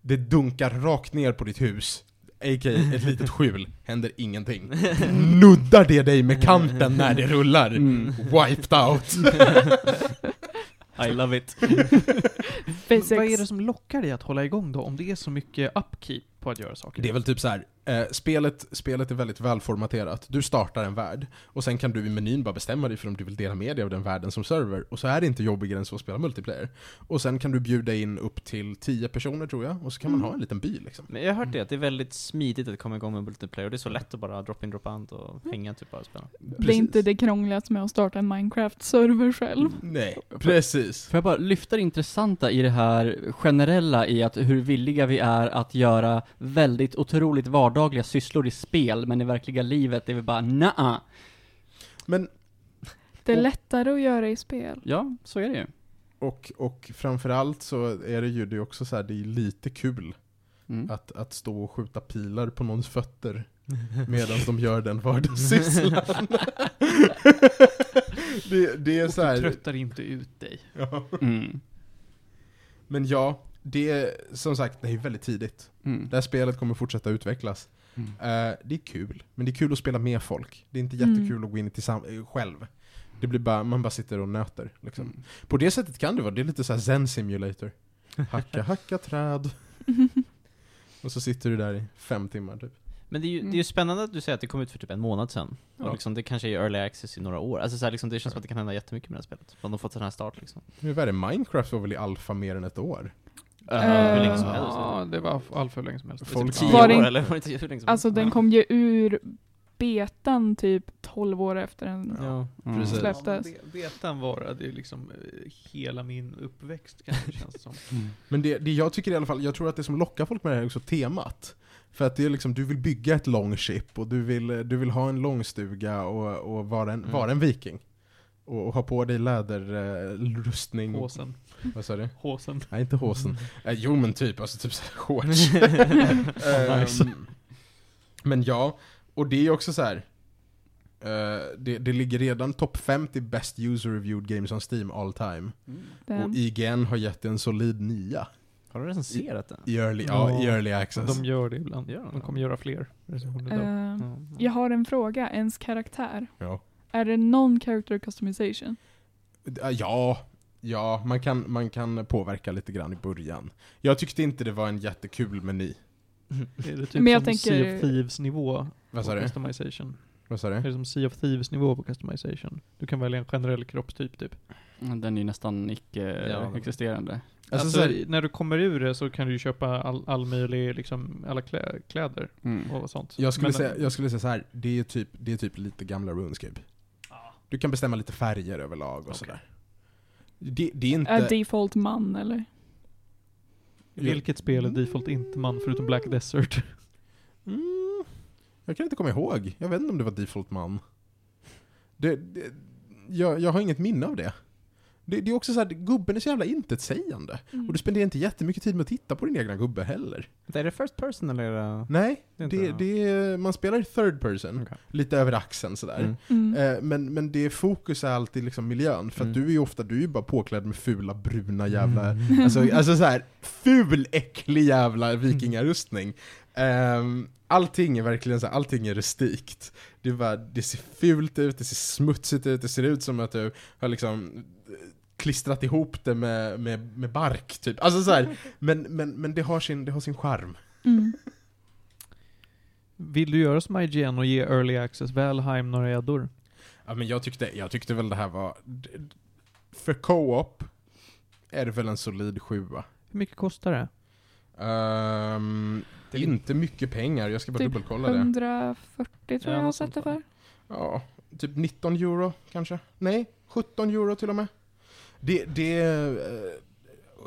Speaker 5: Det dunkar rakt ner på ditt hus. A.k.a. ett litet skjul, händer
Speaker 3: *laughs*
Speaker 5: ingenting. Nuddar det dig med kanten när det rullar?
Speaker 1: Mm.
Speaker 5: Wiped out.
Speaker 3: *laughs* I love
Speaker 5: *laughs*
Speaker 3: it.
Speaker 4: SpaceX.
Speaker 2: Vad är det som lockar dig att hålla igång då, om det är så mycket upkeep på att göra saker?
Speaker 5: Det är väl typ så här. Eh, spelet, spelet är väldigt välformaterat. Du startar en värld, och sen kan du i menyn bara bestämma dig för om du vill dela med dig av den världen som server. Och så är det inte jobbigare än så att spela multiplayer. Och sen kan du bjuda in upp till 10 personer tror jag, och så kan man ha en liten by liksom.
Speaker 3: Men jag har hört det, att det är väldigt smidigt att komma igång med multiplayer, och det är så lätt att bara drop in, drop out och hänga typ bara och spela.
Speaker 4: Det är inte det krångligaste med att starta en Minecraft-server själv.
Speaker 5: Nej, precis.
Speaker 1: Får jag bara lyfta det intressanta i det här generella i att hur villiga vi är att göra väldigt otroligt vardagliga sysslor i spel, men i verkliga livet är vi bara naa.
Speaker 5: Men,
Speaker 4: Det är
Speaker 5: Och-
Speaker 4: lättare att göra i spel.
Speaker 1: Ja, så är det ju.
Speaker 5: och, och framförallt så är det ju det är också så här, det är lite kul
Speaker 1: Mm.
Speaker 5: att, att stå och skjuta pilar på någons fötter medan de gör den vardagssysslan. det, det är
Speaker 2: Och
Speaker 5: så
Speaker 2: du
Speaker 5: här,
Speaker 2: tröttar inte ut dig.
Speaker 5: ja.
Speaker 1: Mm.
Speaker 5: Men ja, det är som sagt, det är väldigt tidigt.
Speaker 1: Mm.
Speaker 5: Det här spelet kommer fortsätta utvecklas.
Speaker 1: Mm.
Speaker 5: Eh, det är kul, men det är kul att spela med folk. Det är inte
Speaker 4: Mm.
Speaker 5: jättekul att gå in tillsammans, själv. Det blir bara, man bara sitter och nöter. Liksom. På det sättet kan det vara, det är lite så här zen simulator. Hacka, hacka träd. och så sitter du där i fem timmar typ.
Speaker 3: Men det är, ju, det är ju spännande att du säger att det kom ut för typ en månad sedan.
Speaker 5: Ja.
Speaker 3: Och liksom, det kanske är early access i några år. Alltså så här, liksom, det känns som att det kan hända jättemycket med det här spelet. Om de fått den här start liksom.
Speaker 5: Hur är det? Minecraft var väl i alfa mer än ett år?
Speaker 4: Eh,
Speaker 3: hur länge som helst.
Speaker 2: Ja, det var allt för länge som helst. Typ
Speaker 5: Folk-
Speaker 3: Tio
Speaker 4: Var
Speaker 3: år
Speaker 4: det inte-
Speaker 3: eller? Var det liksom. inte hur länge som
Speaker 4: Alltså den
Speaker 3: helst?
Speaker 4: kom ju ur betan typ 12 år efter den.
Speaker 3: Ja.
Speaker 1: Mm.
Speaker 5: Precis.
Speaker 4: Släpp. släpptes.
Speaker 2: Ja, men be- Betan varade ju liksom eh, hela min uppväxt kanske känns det som.
Speaker 1: Mm.
Speaker 5: Men det, det jag tycker i alla fall, jag tror att det som lockar folk med det här är också temat. För att det är liksom, du vill bygga ett longship och du vill, du vill ha en långstuga och, och vara, en,
Speaker 3: Mm.
Speaker 5: vara en viking. Och, och ha på dig läderrustning. och-
Speaker 2: Håsen.
Speaker 5: Vad sa du?
Speaker 2: Håsen.
Speaker 5: Nej, inte håsen.
Speaker 3: Mm.
Speaker 5: Eh, jo men typ, alltså typ såhär shorts. Ehm, men ja, och det är ju också så här. eh, det, det ligger redan topp 50 best user reviewed games on Steam all time.
Speaker 4: den.
Speaker 5: Och IGN har gett en solid nia
Speaker 3: *laughs* Har du recenserat den?
Speaker 5: i early, ja, i
Speaker 2: Ja.
Speaker 5: early access.
Speaker 2: De gör det ibland.
Speaker 3: Gör de
Speaker 2: De kommer göra fler recensioner idag.
Speaker 4: Eh,
Speaker 2: Ja.
Speaker 4: jag har en fråga, ens karaktär.
Speaker 5: Ja.
Speaker 4: Är det någon character customization?
Speaker 5: Eh, Ja, ja man, kan, man kan påverka lite grann i början. Jag tyckte inte det var en jättekul meny.
Speaker 2: Är det typ
Speaker 4: Men jag
Speaker 2: som
Speaker 4: tänker-
Speaker 2: Sea of Thieves nivå
Speaker 5: Vad sa
Speaker 2: på
Speaker 5: du?
Speaker 2: customization?
Speaker 5: Vad sa
Speaker 2: Är
Speaker 5: du?
Speaker 2: det som Sea of Thieves nivå på customization? Du kan välja en generell kroppstyp typ.
Speaker 1: Den är ju nästan
Speaker 3: Ja.
Speaker 1: icke-existerande.
Speaker 5: Alltså,
Speaker 2: Alltså,
Speaker 5: så här,
Speaker 2: när du kommer ur det så kan du ju köpa all, all möjlig, liksom, alla klä, kläder
Speaker 1: Mm.
Speaker 2: och sånt.
Speaker 5: jag, skulle
Speaker 2: Men-
Speaker 5: säga, jag skulle säga så här, det är typ, det är typ lite gamla RuneScape. Du kan bestämma lite färger överlag och sådär. Det, det är inte...
Speaker 4: Är default man eller?
Speaker 2: Vilket spel är default inte man förutom Black Desert? *laughs*
Speaker 5: Mm, jag kan inte komma ihåg. Jag vet inte om det var Default Man. Det, det, jag, jag har inget minne av det. Det, det är också så här, gubben är så jävla intetsägande. Och du spenderar inte jättemycket tid med att titta på din egna gubbe heller.
Speaker 3: Är det first person eller? är det-
Speaker 5: Nej,
Speaker 3: Det är
Speaker 5: det,
Speaker 3: inte
Speaker 5: det,
Speaker 3: det.
Speaker 5: är, man spelar i third person.
Speaker 3: Okej.
Speaker 5: Lite över axeln sådär.
Speaker 3: Mm.
Speaker 4: Mm.
Speaker 5: Eh, Men, men det fokus är alltid liksom miljön, för att
Speaker 3: Mm.
Speaker 5: du är ju ofta du är ju bara påklädd med fula bruna jävla, alltså, alltså så här ful äcklig jävla vikingarustning. Ehm, allting är verkligen så här, allting är rustikt. Det, är bara, det ser fult ut, det ser smutsigt ut, det ser ut som att du har liksom eh, klistrat ihop det med, med, med bark typ. Alltså så här, men, men, men det har sin, det har sin charm.
Speaker 4: Mm.
Speaker 2: Vill du göra som IGN och ge Early Access Valheim några gäddor?
Speaker 5: Ja, men jag tyckte, jag tyckte väl det här var, för co-op är det väl en solid sjua.
Speaker 2: Hur mycket kostar det?
Speaker 5: Ehm, det är inte mycket pengar, jag ska bara
Speaker 4: Typ
Speaker 5: dubbelkolla det.
Speaker 4: 140 tror
Speaker 2: Ja,
Speaker 4: jag jag har
Speaker 2: något
Speaker 4: sett det
Speaker 2: sånt där.
Speaker 4: för.
Speaker 5: Ja, typ 19 euro kanske? Nej, 17 euro till och med. Det, det, eh,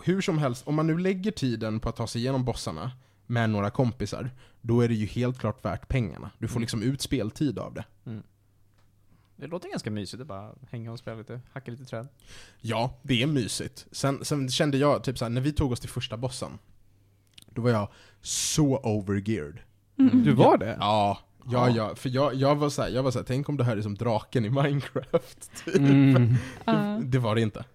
Speaker 5: hur som helst, om man nu lägger tiden på att ta sig igenom bossarna med några kompisar, då är det ju helt klart värt pengarna. Du får liksom ut speltid av det.
Speaker 3: Det låter ganska mysigt att bara hänga och spela lite, hacka lite träd.
Speaker 5: Ja, det är mysigt. Sen, sen kände jag, typ såhär, när vi tog oss till första bossen, då var jag så overgeared.
Speaker 4: Mm.
Speaker 2: Du var det?
Speaker 5: Ja, ja, ja. För jag, jag var såhär, jag var såhär, tänk om det här är som draken i Minecraft.
Speaker 1: *laughs*
Speaker 5: Typ.
Speaker 1: Mm.
Speaker 5: Det, det var det inte.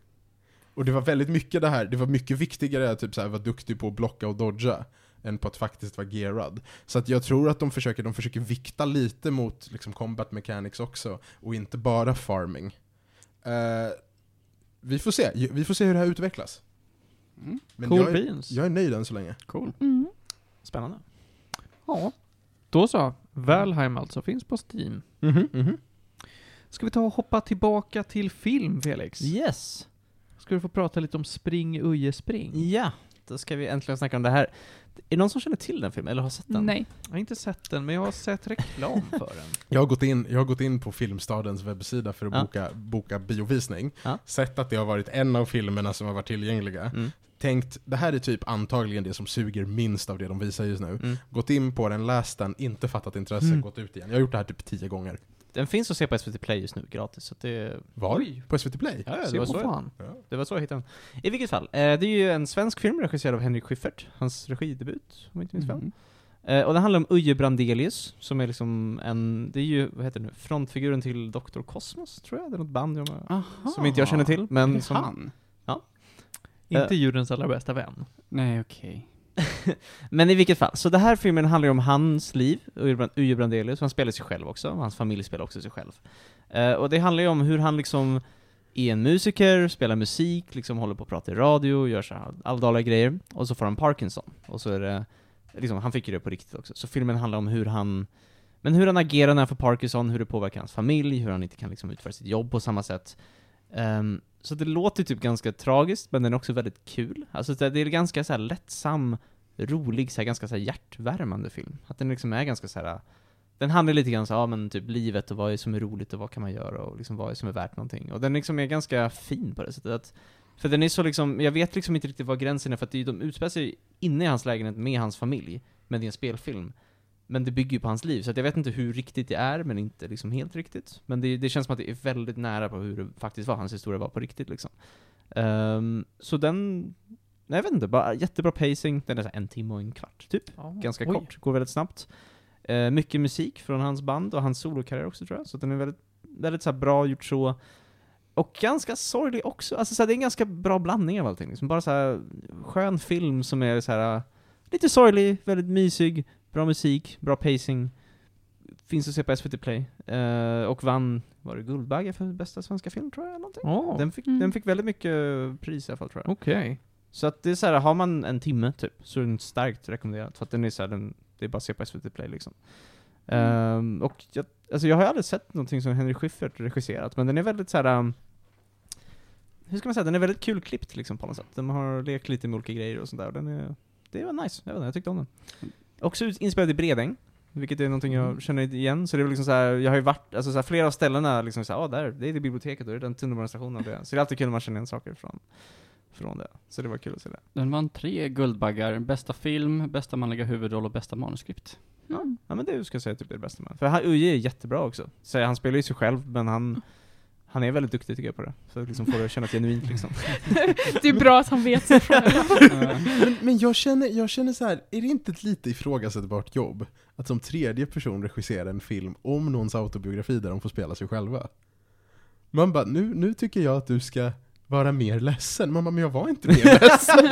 Speaker 5: Och det var väldigt mycket det här, det var mycket viktigare att typ så här, vara duktig på att blocka och dodga än på att faktiskt vara gearad. Så att jag tror att de försöker, de försöker vikta lite mot liksom combat mechanics också, och inte bara farming. Eh, vi får se, vi får se hur det här utvecklas.
Speaker 1: Mm.
Speaker 5: Men
Speaker 2: cool
Speaker 5: jag, är,
Speaker 2: beans.
Speaker 5: jag är nöjd än så länge.
Speaker 1: Cool.
Speaker 4: Mm.
Speaker 3: Spännande.
Speaker 2: Ja. Då så. Valheim alltså, finns på Steam. Ska vi ta och hoppa tillbaka till film, Felix?
Speaker 3: Yes!
Speaker 2: Ska du få prata lite om Spring Uje Spring?
Speaker 3: Ja, då ska vi äntligen snacka om det här. Är det någon som känner till den filmen, eller har sett den?
Speaker 4: Nej. *laughs*
Speaker 2: Jag har inte sett den, men jag har sett reklam för den.
Speaker 5: Jag har, gått in, jag har gått in på Filmstadens webbsida för att
Speaker 3: Ja.
Speaker 5: boka, boka biovisning,
Speaker 3: Ja.
Speaker 5: sett att det har varit en av filmerna som har varit tillgängliga,
Speaker 3: Mm.
Speaker 5: tänkt det här är typ antagligen det som suger minst av det de visar just nu.
Speaker 3: Mm.
Speaker 5: Gått in på den, läst den, inte fattat intresse,
Speaker 2: Mm.
Speaker 5: gått ut igen. Jag har gjort det här typ tio gånger.
Speaker 3: Den finns att se på SVT Play just nu, gratis. Så att det,
Speaker 5: Var?
Speaker 3: Oj.
Speaker 5: På SVT Play?
Speaker 3: Ja, ja,
Speaker 2: Se
Speaker 3: det, var
Speaker 2: på
Speaker 3: så jag,
Speaker 2: fan.
Speaker 3: det var så jag hittade den. I vilket fall, eh, det är ju en svensk film regisserad av Henrik Schyffert, hans regidebut, om jag inte minns fel.
Speaker 1: Mm.
Speaker 3: Eh, och den handlar om Uje Brandelius, som är liksom en, det är ju, vad heter det nu, frontfiguren till Dr. Cosmos, tror jag. Det är något band jag med,
Speaker 1: Aha.
Speaker 3: som inte jag känner till,
Speaker 1: Är
Speaker 3: men
Speaker 1: det
Speaker 3: som...
Speaker 1: han?
Speaker 2: *laughs* inte djurens allra bästa vän.
Speaker 1: Nej, okej.
Speaker 3: Men i vilket fall, så den här filmen handlar ju om hans liv, Uje Brand- Uje Brandelius, han spelar sig själv också, och hans familj spelar också sig själv. Eh, och det handlar ju om hur han liksom är en musiker, spelar musik, liksom håller på att prata i radio, gör så här alldagliga grejer, och så får han Parkinson. Och så är det, liksom, han fick ju det på riktigt också. Så filmen handlar om hur han, men hur han agerar när han får Parkinson, hur det påverkar hans familj, hur han inte kan liksom utföra sitt jobb på samma sätt. Ehm, så det låter typ ganska tragiskt, men den är också väldigt kul. Alltså det det är ganska så här lättsam, rolig, så här, ganska så här hjärtvärmande film. Att den liksom är ganska så här. Den handlar lite grann så här, ja, men typ livet och vad är som är roligt och vad kan man göra och liksom vad är som är värt någonting. Och den liksom är ganska fin på det sättet att, för den är så liksom, jag vet liksom inte riktigt vad gränsen är för att det är ju- de utspelar sig inne i hans lägenhet med hans familj, men det är en spelfilm. Men det bygger ju på hans liv, så att jag vet inte hur riktigt det är, men inte liksom helt riktigt. Men det, det känns som att det är väldigt nära på hur det faktiskt var, hans historia var på riktigt liksom. Ehm, så den, nej, jag vet inte, bara jättebra pacing, den är så här en timme och en kvart typ. Ganska kort, går väldigt snabbt. Eh, mycket musik från hans band och hans solokarriär också tror jag, så den är väldigt, väldigt så här bra gjort så. Och ganska sorglig också, alltså så här, det är en ganska bra blandning av allting. Liksom bara så här skön film som är så här lite sorglig, väldigt mysig, bra musik, bra pacing. Finns att se på SVT Play. Eh, och vann, var det Guldbagge för bästa svenska film tror jag? eller Någonting.
Speaker 2: Ja,
Speaker 3: Den, fick,
Speaker 4: Mm.
Speaker 3: den fick väldigt mycket pris i alla fall tror jag.
Speaker 2: okej.
Speaker 3: Så att det är så här, har man en timme typ, så är den starkt rekommenderad. För att den är så här, den, det är bara att se på SVT Play liksom.
Speaker 4: Mm.
Speaker 3: Ehm, och jag, alltså jag har ju aldrig sett någonting som Henry Schyffert regisserat, men den är väldigt så här. ehm, hur ska man säga, den är väldigt kul klippt liksom på något sätt. De har lekt lite med olika grejer och sånt där och den är, det var nice, jag vet inte, jag tyckte om den. Också ut- inspelad i Bredäng, vilket är någonting jag känner igen, så det är väl liksom så här, jag har ju varit, alltså så här, flera av ställena liksom såhär, ah, där, det är det biblioteket och det är den tunnelbanestationen och det. Så det är alltid kul när man känner igen saker från, från det. Så det var kul att se det.
Speaker 1: Den vann tre Guldbaggar, bästa film, bästa manliga huvudroll och bästa manuskript.
Speaker 4: Mm.
Speaker 3: Ja men det ska jag säga typ är det bästa med För han, Uje är jättebra också. Så han spelar ju sig själv, men han, han är väldigt duktig tycker jag på det. Så att liksom får det att kännas genuint liksom.
Speaker 4: Det är bra att han vet siffrorna.
Speaker 5: Men, men jag känner, jag känner så här, är det inte ett lite ifrågasättbart jobb att som tredje person regissera en film om någons autobiografi där de får spela sig själva? Man bara, nu, nu tycker jag att du ska vara mer ledsen. Man bara, men jag var
Speaker 3: *laughs*
Speaker 5: inte
Speaker 4: *laughs*
Speaker 5: mer ledsen.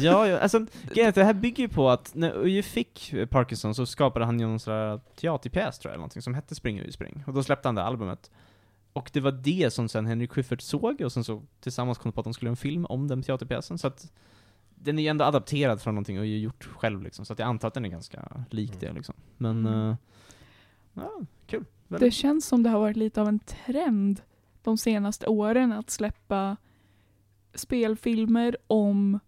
Speaker 3: ja, ja, alltså grejen är att det här bygger ju på att när Uje fick eh, Parkinson så skapade han ju någon sån här teaterpjäs tror jag, eller någonting som hette Spring Uje Spring. Och då släppte han det albumet. Och det var det som sen Henrik Schyffert såg, och sen så tillsammans kom de på att de skulle göra en film om den teaterpjäsen, så att den är ju ändå adapterad från någonting Uje gjort själv liksom, så att jag antar att den är ganska lik det liksom. Men,
Speaker 4: Mm.
Speaker 3: eh, ja, kul.
Speaker 4: Det känns som det har varit lite av en trend de senaste åren att släppa spelfilmer om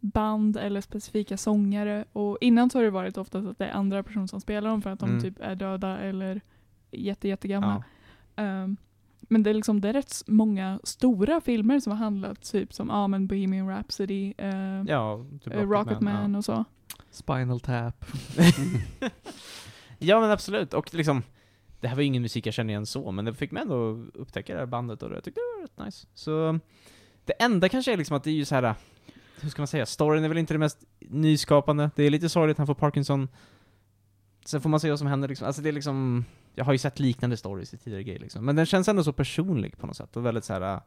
Speaker 4: band eller specifika sångare. Och innan så har det varit oftast att det är andra typ personer som spelar dem för att de
Speaker 3: Mm.
Speaker 4: typ är döda eller jätte, jättegamla.
Speaker 3: Ja.
Speaker 4: Ehm, Men det är liksom det är rätt s- många stora filmer som har handlat typ som ah, men Bohemian Rhapsody, eh,
Speaker 3: Ja, typ
Speaker 4: eh, Rocketman och så.
Speaker 2: Spinal Tap.
Speaker 3: Ja men absolut, och liksom Det här var ju ingen musik jag kände igen så, men det fick mig ändå upptäcka det här bandet och jag tyckte det var rätt nice. Så Det enda kanske är liksom att det är ju så här. Hur ska man säga? Storyn är väl inte det mest nyskapande. Det är lite sorgligt, han får Parkinson. Sen får man se vad som händer liksom. Alltså det är liksom Jag har ju sett liknande stories i tidigare grejer liksom. Men den känns ändå så personlig på något sätt och väldigt så här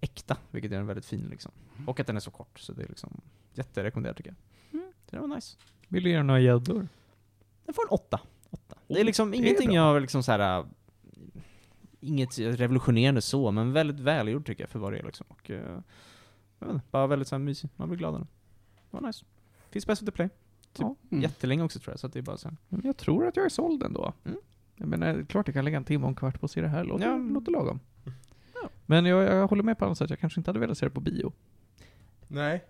Speaker 3: äkta, vilket gör den väldigt fin liksom. Och att den är så kort, så det är liksom jätterekommenderad tycker jag.
Speaker 4: Mm.
Speaker 3: Så det var nice.
Speaker 2: Vill du göra några gäddor?
Speaker 3: Den får en åtta. åtta. det är liksom
Speaker 2: Oh, det är
Speaker 3: ingenting
Speaker 2: bra.
Speaker 3: jag har liksom så här. äh, Inget revolutionerande så, men väldigt välgjord tycker jag för vad det är liksom. Och, eh, jag vet inte, bara väldigt så här mysig. Man blir glad av den. Det var nice. Finns på SVT Play.
Speaker 1: Mm.
Speaker 3: Jättelänge också tror jag, så att det är bara så här.
Speaker 2: Men Jag tror att jag är såld ändå.
Speaker 3: Mm.
Speaker 2: Jag menar, klart jag kan lägga en timme och en kvart på att se det här. Låter,
Speaker 3: Ja.
Speaker 2: låter lagom. Men jag, jag håller med på annat sätt. Jag kanske inte hade velat se det på bio.
Speaker 5: Nej.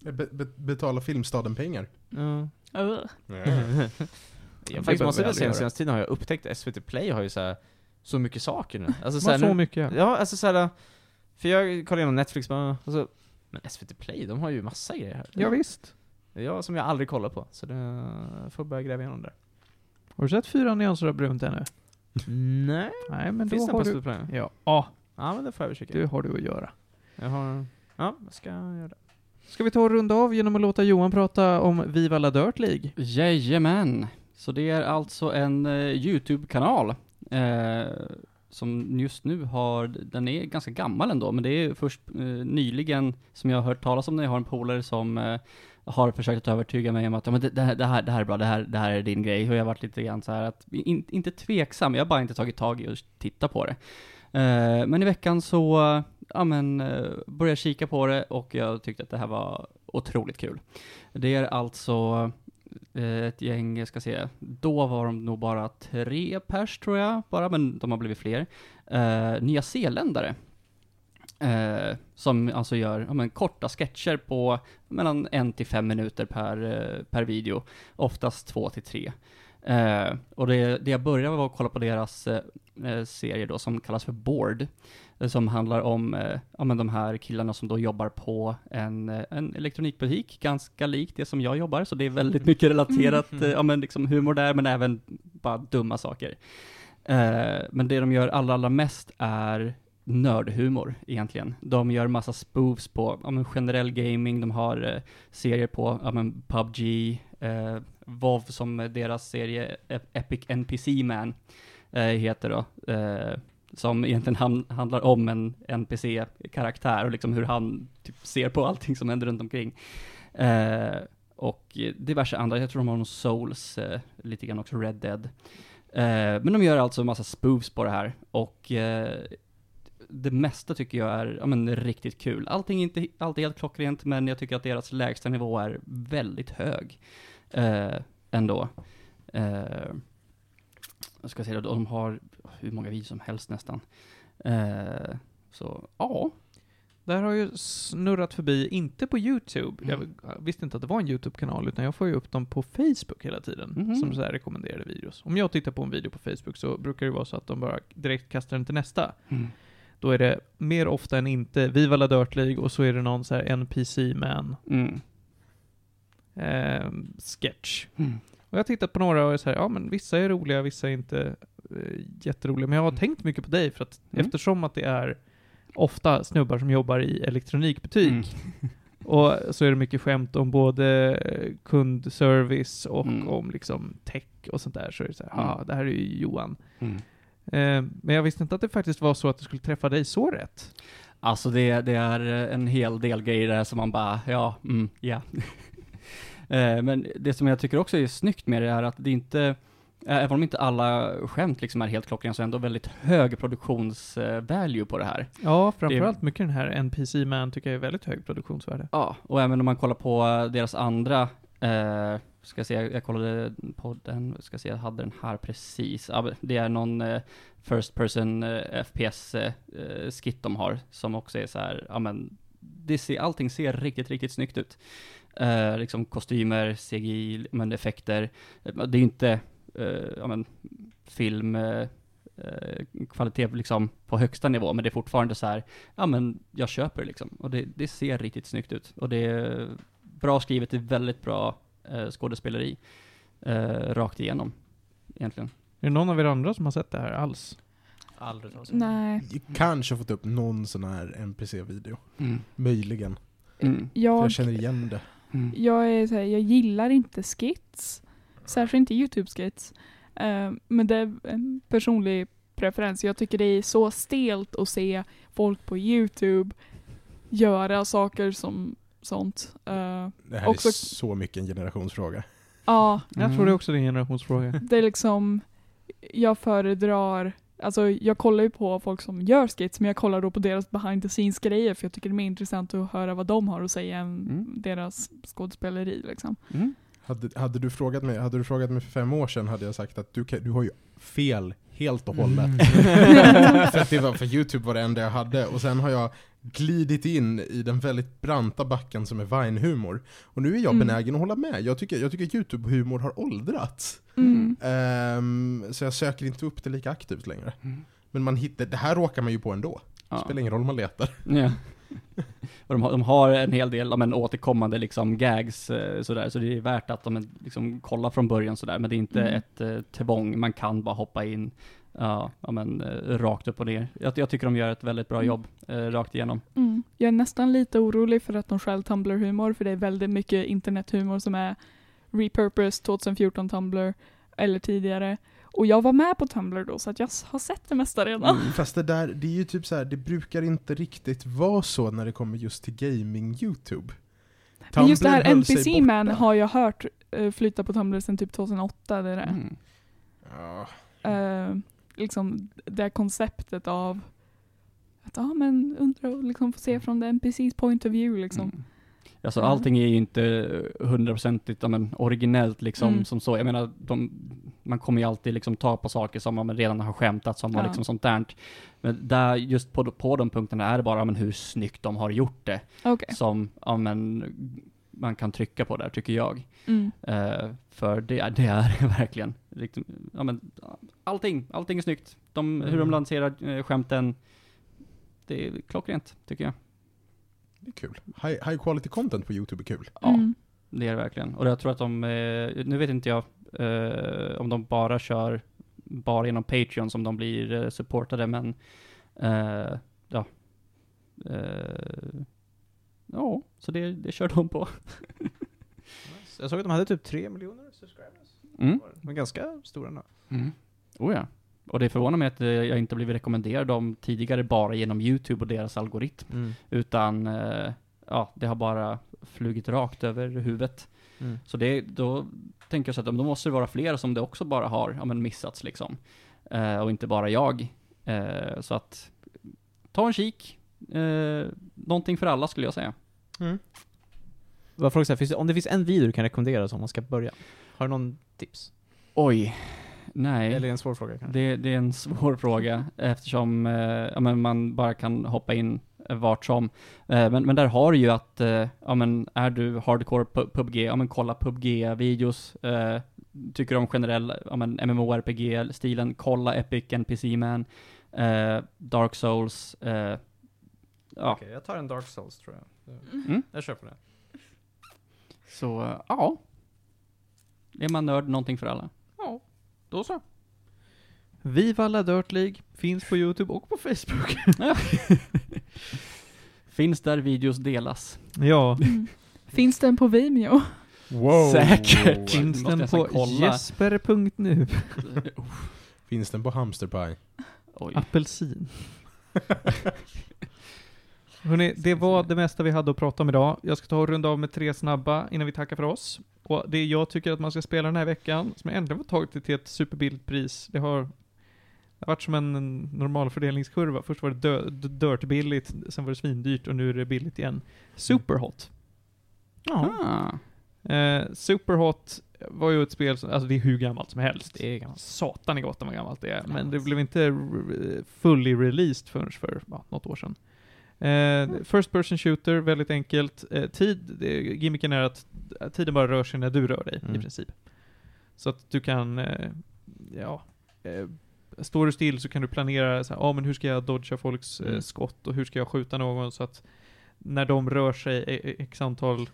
Speaker 5: Be- be- betala Filmstaden pengar.
Speaker 3: Ja.
Speaker 4: Ugh.
Speaker 2: Mm.
Speaker 3: *laughs* jag faktiskt
Speaker 2: behöver
Speaker 3: måste
Speaker 2: vi
Speaker 3: väl säga
Speaker 2: aldrig
Speaker 3: den senaste tiden har jag upptäckt att SVT Play har ju så här så mycket saker nu. Alltså
Speaker 2: Så,
Speaker 3: så här,
Speaker 2: så
Speaker 3: nu,
Speaker 2: mycket.
Speaker 3: Ja, alltså såhär, för jag kollade igenom Netflix bara, och så, men SVT Play, de har ju massa grejer här.
Speaker 2: Ja, visst.
Speaker 3: Ja, som jag aldrig kollar på. Så det jag får börja gräva igenom där.
Speaker 2: Har du sett Fyra nyanser av brunt ännu?
Speaker 3: Nej.
Speaker 2: Nej, men
Speaker 3: Finns
Speaker 2: då
Speaker 3: den
Speaker 2: har
Speaker 3: på
Speaker 2: du...
Speaker 3: SVT Play?
Speaker 2: Ja, ja,
Speaker 3: Ja, men det får jag väl kika.
Speaker 2: det har du att göra.
Speaker 3: Jag har... Ja, jag ska göra det.
Speaker 2: Ska vi ta och runda av genom att låta Johan prata om Viva La Dirt League?
Speaker 1: Jajamän! Så det är alltså en eh, YouTube-kanal eh, som just nu har, den är ganska gammal ändå, men det är först eh, nyligen som jag har hört talas om den. Jag har en polare som eh, har försökt att övertyga mig om att ja, men det, det, här, det, här, det här är bra, det här, det här är din grej. Och jag har varit lite grann så här att, in, inte tveksam, jag har bara inte tagit tag i och titta på det. Eh, men i veckan så, eh, ja men, eh, började jag kika på det och jag tyckte att det här var otroligt kul. Det är alltså eh, ett gäng, jag ska se, då var de nog bara tre pers tror jag, bara, men de har blivit fler. Eh, Nya Zeeländare. Eh, som alltså gör ja, men, korta sketcher på mellan en till fem minuter per, eh, per video. Oftast två till tre. Eh, och det, det jag började var att kolla på deras eh, eh, serie då som kallas för Board. Eh, som handlar om eh, ja, men de här killarna som då jobbar på en, eh, en elektronikbutik, ganska likt det som jag jobbar. Så det är väldigt mycket relaterat, eh, ja men liksom humor där, men även bara dumma saker. Eh, men det de gör allra, allra mest är nördhumor egentligen. De gör massa spoofs på ja, men generell gaming, de har eh, serier på ja, men PubG, eh, WoW som deras serie Ep- Epic NPC Man eh, heter då. Eh, som egentligen ham- handlar om en NPC-karaktär och liksom hur han typ ser på allting som händer runt omkring. Eh, och eh, diverse andra, jag tror de har någon Souls, eh, lite grann också Red Dead. Eh, men de gör alltså en massa spoofs på det här och eh, det mesta tycker jag är ja, men, riktigt kul. Allting är inte alltid helt klockrent, men jag tycker att deras lägsta nivå är väldigt hög eh, ändå. Eh, jag ska säga, de har hur många videos som helst nästan. Eh, så ja,
Speaker 2: Där har ju snurrat förbi, inte på YouTube.
Speaker 1: Mm.
Speaker 2: Jag visste inte att det var en YouTube-kanal, utan jag får ju upp dem på Facebook hela tiden,
Speaker 1: Mhm.
Speaker 2: som så här rekommenderade videos. Om jag tittar på en video på Facebook så brukar det vara så att de bara direkt kastar den till nästa.
Speaker 1: Mm.
Speaker 2: Då är det mer ofta än inte Viva La Dirt League och så är det någon så här NPC-man
Speaker 1: Mm.
Speaker 2: eh, sketch.
Speaker 1: Mm.
Speaker 2: Och jag har tittat på några och är så här, ja men vissa är roliga, vissa är inte eh, jätteroliga. Men jag har
Speaker 1: Mm.
Speaker 2: tänkt mycket på dig för att
Speaker 1: Mm.
Speaker 2: eftersom att det är ofta snubbar som jobbar i elektronikbutik
Speaker 1: Mm.
Speaker 2: och så är det mycket skämt om både eh, kundservice och
Speaker 1: Mm.
Speaker 2: om liksom tech och sånt där. Så är det så här,
Speaker 1: Mm.
Speaker 2: ah, det här är ju Johan.
Speaker 1: Mm.
Speaker 2: Eh, men jag visste inte att det faktiskt var så att du skulle träffa dig så rätt.
Speaker 1: Alltså det, det är en hel del grejer där som man bara, ja, mm, ja. *laughs* Eh, Men det som jag tycker också är snyggt med det är att det inte, eh, även om inte alla skämt liksom är helt klockrena, så är det ändå väldigt hög produktionsvalue på det här.
Speaker 2: Ja,
Speaker 1: framförallt
Speaker 2: framförallt mycket den här NPC-man tycker jag är väldigt hög produktionsvärde.
Speaker 1: Ja, och även om man kollar på eh, deras andra, eh, ska jag se, jag kollade på den, ska jag se, jag hade den här precis. Ja, men Det är någon eh, First Person eh, FPS eh, eh, skit de har, som också är så här, ja men, det ser, allting ser riktigt, riktigt snyggt ut. Eh, liksom kostymer, CGI, men effekter. Eh, Det är ju inte, eh, ja men, film, eh, eh, kvalitet liksom på högsta nivå, men det är fortfarande så här, ja men jag köper liksom. Och det, det ser riktigt snyggt ut. Och det är bra skrivet, det är väldigt bra eh, skådespeleri. Eh, rakt igenom, egentligen.
Speaker 2: Är det någon av er andra som har sett det här alls?
Speaker 3: Aldrig talas om.
Speaker 4: Nej.
Speaker 5: Jag kanske fått upp någon sån här NPC-video.
Speaker 1: Mm.
Speaker 5: Möjligen.
Speaker 4: Eh,
Speaker 1: Mm.
Speaker 5: För
Speaker 4: Jag,
Speaker 5: jag känner igen det.
Speaker 1: Mm.
Speaker 4: jag, är så här, jag gillar inte skits. Särskilt inte YouTube-skits. Eh, men det är en personlig preferens. Jag tycker det är så stelt att se folk på YouTube göra saker som sånt. Eh,
Speaker 5: Det här
Speaker 4: Också-
Speaker 5: är så mycket en generationsfråga.
Speaker 4: Ja,
Speaker 2: Jag
Speaker 1: mm.
Speaker 2: tror det är också är en generationsfråga.
Speaker 4: det är liksom, jag föredrar, alltså jag kollar ju på folk som gör skits, men jag kollar då på deras behind the scenes grejer för jag tycker det är mer intressant att höra vad de har att säga än
Speaker 1: Mm.
Speaker 4: deras skådespeleri liksom.
Speaker 1: Mm.
Speaker 5: Hade, hade, du frågat mig, hade du frågat mig för fem år sedan hade jag sagt att du, kan, du har ju fel helt och hållet. Mm. *laughs* för, att det var, för Youtube var det enda jag hade. Och sen har jag glidit in i den väldigt branta backen som är Vine-humor. Och nu är jag
Speaker 4: Mm.
Speaker 5: benägen att hålla med. Jag tycker, jag tycker Youtube-humor har åldrats.
Speaker 4: Mm.
Speaker 5: Ehm, så jag söker inte upp det lika aktivt längre.
Speaker 1: Mm.
Speaker 5: Men man hittar, det här råkar man ju på ändå.
Speaker 1: Ja.
Speaker 5: Spelar ingen roll om man letar.
Speaker 1: *laughs* Ja. Och de, har, de har en hel del ja, men, återkommande liksom, gags eh, sådär, så det är värt att de liksom, kollar från början sådär, men det är inte
Speaker 4: Mm.
Speaker 1: ett eh, tvång, man kan bara hoppa in ja, ja, men, eh, rakt upp och ner. Jag, jag tycker de gör ett väldigt bra
Speaker 4: Mm.
Speaker 1: jobb eh, rakt igenom.
Speaker 4: Mm. Jag är nästan lite orolig för att de stjäl Tumblr-humor, för det är väldigt mycket internethumor som är repurposed 2014 Tumblr, eller tidigare. Och jag var med på Tumblr då, så att jag s- har sett det mesta redan.
Speaker 5: Fast det där, det är ju typ så här, det brukar inte riktigt vara så när det kommer just till gaming-Youtube.
Speaker 4: Men just det här
Speaker 5: Tumblr höll sig
Speaker 4: NPC Man
Speaker 5: borta.
Speaker 4: har jag hört eh, flyta på Tumblr sedan typ 2008. Det är det.
Speaker 1: Mm.
Speaker 5: Ja, Mm.
Speaker 4: eh, liksom det här konceptet av att ja men undra och liksom få se
Speaker 5: Mm.
Speaker 4: från the NPC's point of view liksom.
Speaker 1: Mm. Alltså
Speaker 4: Ja.
Speaker 1: allting är ju inte hundraprocentigt ja, men, originellt liksom
Speaker 4: Mm.
Speaker 1: som så. Jag menar, de, man kommer ju alltid liksom ta på saker som man redan har skämtat som och
Speaker 4: Ja.
Speaker 1: liksom sånt där. Men där, just på, på de punkterna är det bara ja, men, hur snyggt de har gjort det
Speaker 4: Okej.
Speaker 1: som ja, men, man kan trycka på där, tycker jag.
Speaker 4: Mm.
Speaker 1: Eh, för det, är- det är *laughs* det verkligen. Liksom, ja, men, allting, allting är snyggt. De, Hur de
Speaker 5: Mm.
Speaker 1: lanserar eh, skämten, det är klockrent, tycker jag.
Speaker 5: det är kul. High, high quality content på Youtube är kul.
Speaker 1: Ja.
Speaker 4: Mm.
Speaker 1: Det är det verkligen. Och jag tror att de, eh, nu vet inte jag eh, om de bara kör bara genom Patreon som de blir eh, supportade, men eh, ja. Eh, ja, så det, det kör de på.
Speaker 3: Nice. Jag såg att de hade typ 3 miljoner subscribers.
Speaker 1: Mm.
Speaker 3: Men ganska stora nu.
Speaker 1: Mm. Oh, ja. Och det förvånar mig att eh, jag inte blivit rekommenderad dem tidigare bara genom YouTube och deras algoritm, utan eh, ja, det har bara flugit rakt över huvudet. Så det, då tänker jag så att om- då måste det vara fler som det också bara har ja, men missats liksom. Eh, och inte bara jag. Eh, så att, ta en kik. Eh, någonting för alla skulle jag säga.
Speaker 3: Vad frågar jag, finns det- om det finns en video du kan rekommendera som man ska börja? Har du någon tips?
Speaker 1: Oj. Nej.
Speaker 3: Eller en svår fråga kanske?
Speaker 1: Det, det är en svår *laughs* fråga eftersom eh, ja, men man bara kan hoppa in eh, vart som. Eh, men, men där har du ju att, eh, ja, men är du hardcore pu- PubG, ja, men kolla PubG-videos. Eh, tycker du om generell ja, men MMORPG-stilen, kolla Epic NPC Man, eh, Dark Souls. Eh, ja,
Speaker 3: Okej, jag tar en Dark Souls tror jag.
Speaker 1: Mm.
Speaker 3: Jag kör på det.
Speaker 1: så eh, ja. Är man nörd, någonting för alla.
Speaker 2: *laughs* Ja, då så. Viva La Dirt League finns på Youtube och på Facebook.
Speaker 1: Finns där videos delas.
Speaker 2: Ja.
Speaker 4: Mm. *laughs* Finns den på Vimeo?
Speaker 5: Wow.
Speaker 1: Säkert.
Speaker 2: Finns
Speaker 1: Måste
Speaker 2: den
Speaker 1: nästan
Speaker 2: på
Speaker 1: kolla.
Speaker 2: jesper.nu?
Speaker 5: Finns den på Hamsterpaj?
Speaker 1: Oj.
Speaker 2: Apelsin. *laughs* Hörrni, det var det mesta vi hade att prata om idag. Jag ska ta och runda av med tre snabba innan vi tackar för oss. Och det jag tycker att man ska spela den här veckan, som jag äntligen har tagit till ett superbilligt pris, det har det har varit som en en normal fördelningskurva. Först var det dö- d- dirtbilligt, sen var det svindyrt och nu är det billigt igen. Superhot. Ja.
Speaker 1: Ah.
Speaker 2: Eh, Superhot var ju ett spel som, alltså det är hur gammalt som helst.
Speaker 3: Det är gammalt.
Speaker 2: Satan i gatan vad gammalt det är, men det blev inte re- fully released förrän för ja, något år sedan. Eh, first person shooter, väldigt enkelt. Eh, tid, eh, gimmicken är att tiden bara rör sig när du rör dig, i
Speaker 3: Mm.
Speaker 2: princip. Så att du kan, eh, ja, eh, Står du still så kan du planera, så här, ah, men hur ska jag dodga folks eh,
Speaker 3: Mm.
Speaker 2: skott och hur ska jag skjuta någon så att när de rör sig e- e- x antal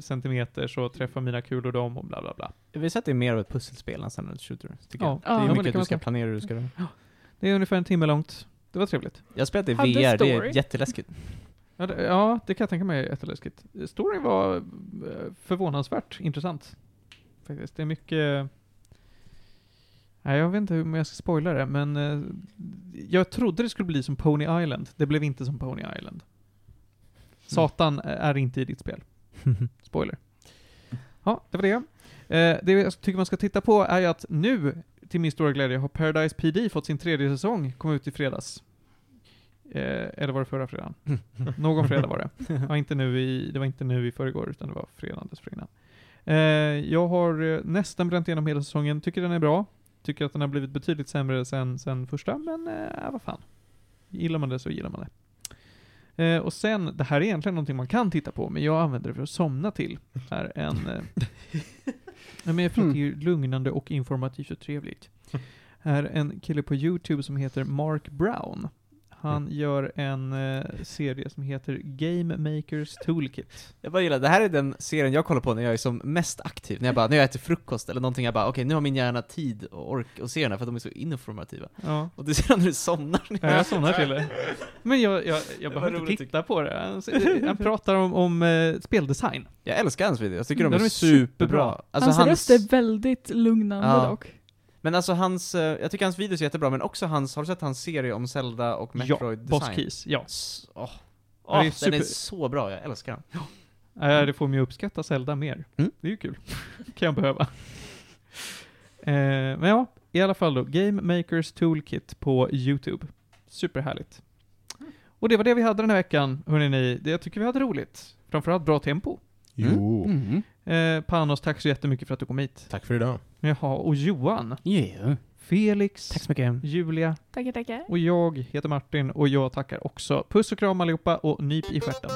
Speaker 2: centimeter så träffar mina kulor dem och bla bla bla.
Speaker 3: Jag vill säga att det är mer av ett pusselspel nästan än ett shooter, tycker
Speaker 2: Ja.
Speaker 3: jag.
Speaker 4: Ja,
Speaker 3: det är
Speaker 4: men
Speaker 2: det
Speaker 3: mycket
Speaker 2: kan
Speaker 3: du
Speaker 2: man
Speaker 3: ska
Speaker 2: säga.
Speaker 3: planera hur du ska röra.
Speaker 2: Det är ungefär en timme långt. Det var trevligt.
Speaker 3: Jag har spelat det i
Speaker 4: Hade
Speaker 3: VR, det
Speaker 4: story.
Speaker 3: är jätteläskigt.
Speaker 2: Ja, det, ja, det kan jag tänka mig är jätteläskigt. Storyn var eh, förvånansvärt intressant. Faktiskt. Det är mycket... Nej, jag vet inte hur jag ska spoila det, men eh, jag trodde det skulle bli som Pony Island. Det blev inte som Pony Island. Satan är inte i ditt spel. Spoiler. Ja, det var det. Eh, det jag tycker man ska titta på är ju att nu, till min stora glädje, har Paradise PD fått sin tredje säsong, kom ut i fredags. Eh, eller var det förra fredagen? Någon fredag var det. Ja, inte nu i, det var inte nu i förrgår, utan det var fredagen dessförinnan. Eh, jag har eh, nästan bränt igenom hela säsongen, tycker den är bra. Tycker att den har blivit betydligt sämre sen, sen första, men eh, vad fan. Gillar man det så gillar man det. Eh, och sen, det här är egentligen någonting man kan titta på, men jag använder det för att somna till. Är en, eh, nej, men jag tror att det är lugnande och informativt och trevligt. Är en kille på YouTube som heter Mark Brown. Han gör en eh, serie som heter Game Makers Toolkit.
Speaker 3: Jag bara gillar, det här är den serien jag kollar på när jag är som mest aktiv. När jag bara, när jag äter frukost eller någonting, jag bara okej nu har min hjärna tid och ork att se den här för att de är så informativa.
Speaker 2: Ja.
Speaker 3: Och det ser när du somnar.
Speaker 2: Ja, jag somnar till det. Men jag, jag, jag
Speaker 3: var
Speaker 2: behöver inte
Speaker 3: roligt,
Speaker 2: titta på det. Han, s- han pratar om, om eh, speldesign.
Speaker 3: Jag älskar hans videor, jag tycker de,
Speaker 2: Ja,
Speaker 3: är, superbra.
Speaker 2: superbra.
Speaker 3: Alltså,
Speaker 4: hans röst är väldigt lugnande
Speaker 3: Ja.
Speaker 4: dock.
Speaker 3: Men alltså hans, eh, jag tycker hans videos är jättebra, men också hans, har du sett hans serie om Zelda och Metroid
Speaker 2: ja, Boss
Speaker 3: Design?
Speaker 2: Keys, ja.
Speaker 3: S- Åh,
Speaker 2: Ja, det är
Speaker 3: Åh, Ah, den
Speaker 2: super-
Speaker 3: är så bra, jag älskar den.
Speaker 2: Eh, Det får mig att uppskatta Zelda mer.
Speaker 3: Mm.
Speaker 2: Det är ju kul. *laughs* kan jag behöva. Eh, men ja, i alla fall då. Game Makers Toolkit på YouTube. Superhärligt. Och det var det vi hade den här veckan, hörni ni. Det- Jag tycker vi hade roligt. Framförallt bra tempo.
Speaker 5: Jo.
Speaker 1: Mm.
Speaker 2: Eh, Panos, tack så jättemycket för att du kom hit.
Speaker 5: Tack för idag.
Speaker 2: Jaha, och Johan,
Speaker 1: Yeah.
Speaker 2: Felix,
Speaker 3: så mycket.
Speaker 2: Julia,
Speaker 4: Tackar, tackar.
Speaker 2: Och jag heter Martin och jag tackar också. Puss och kram allihopa och nyp i stjärten.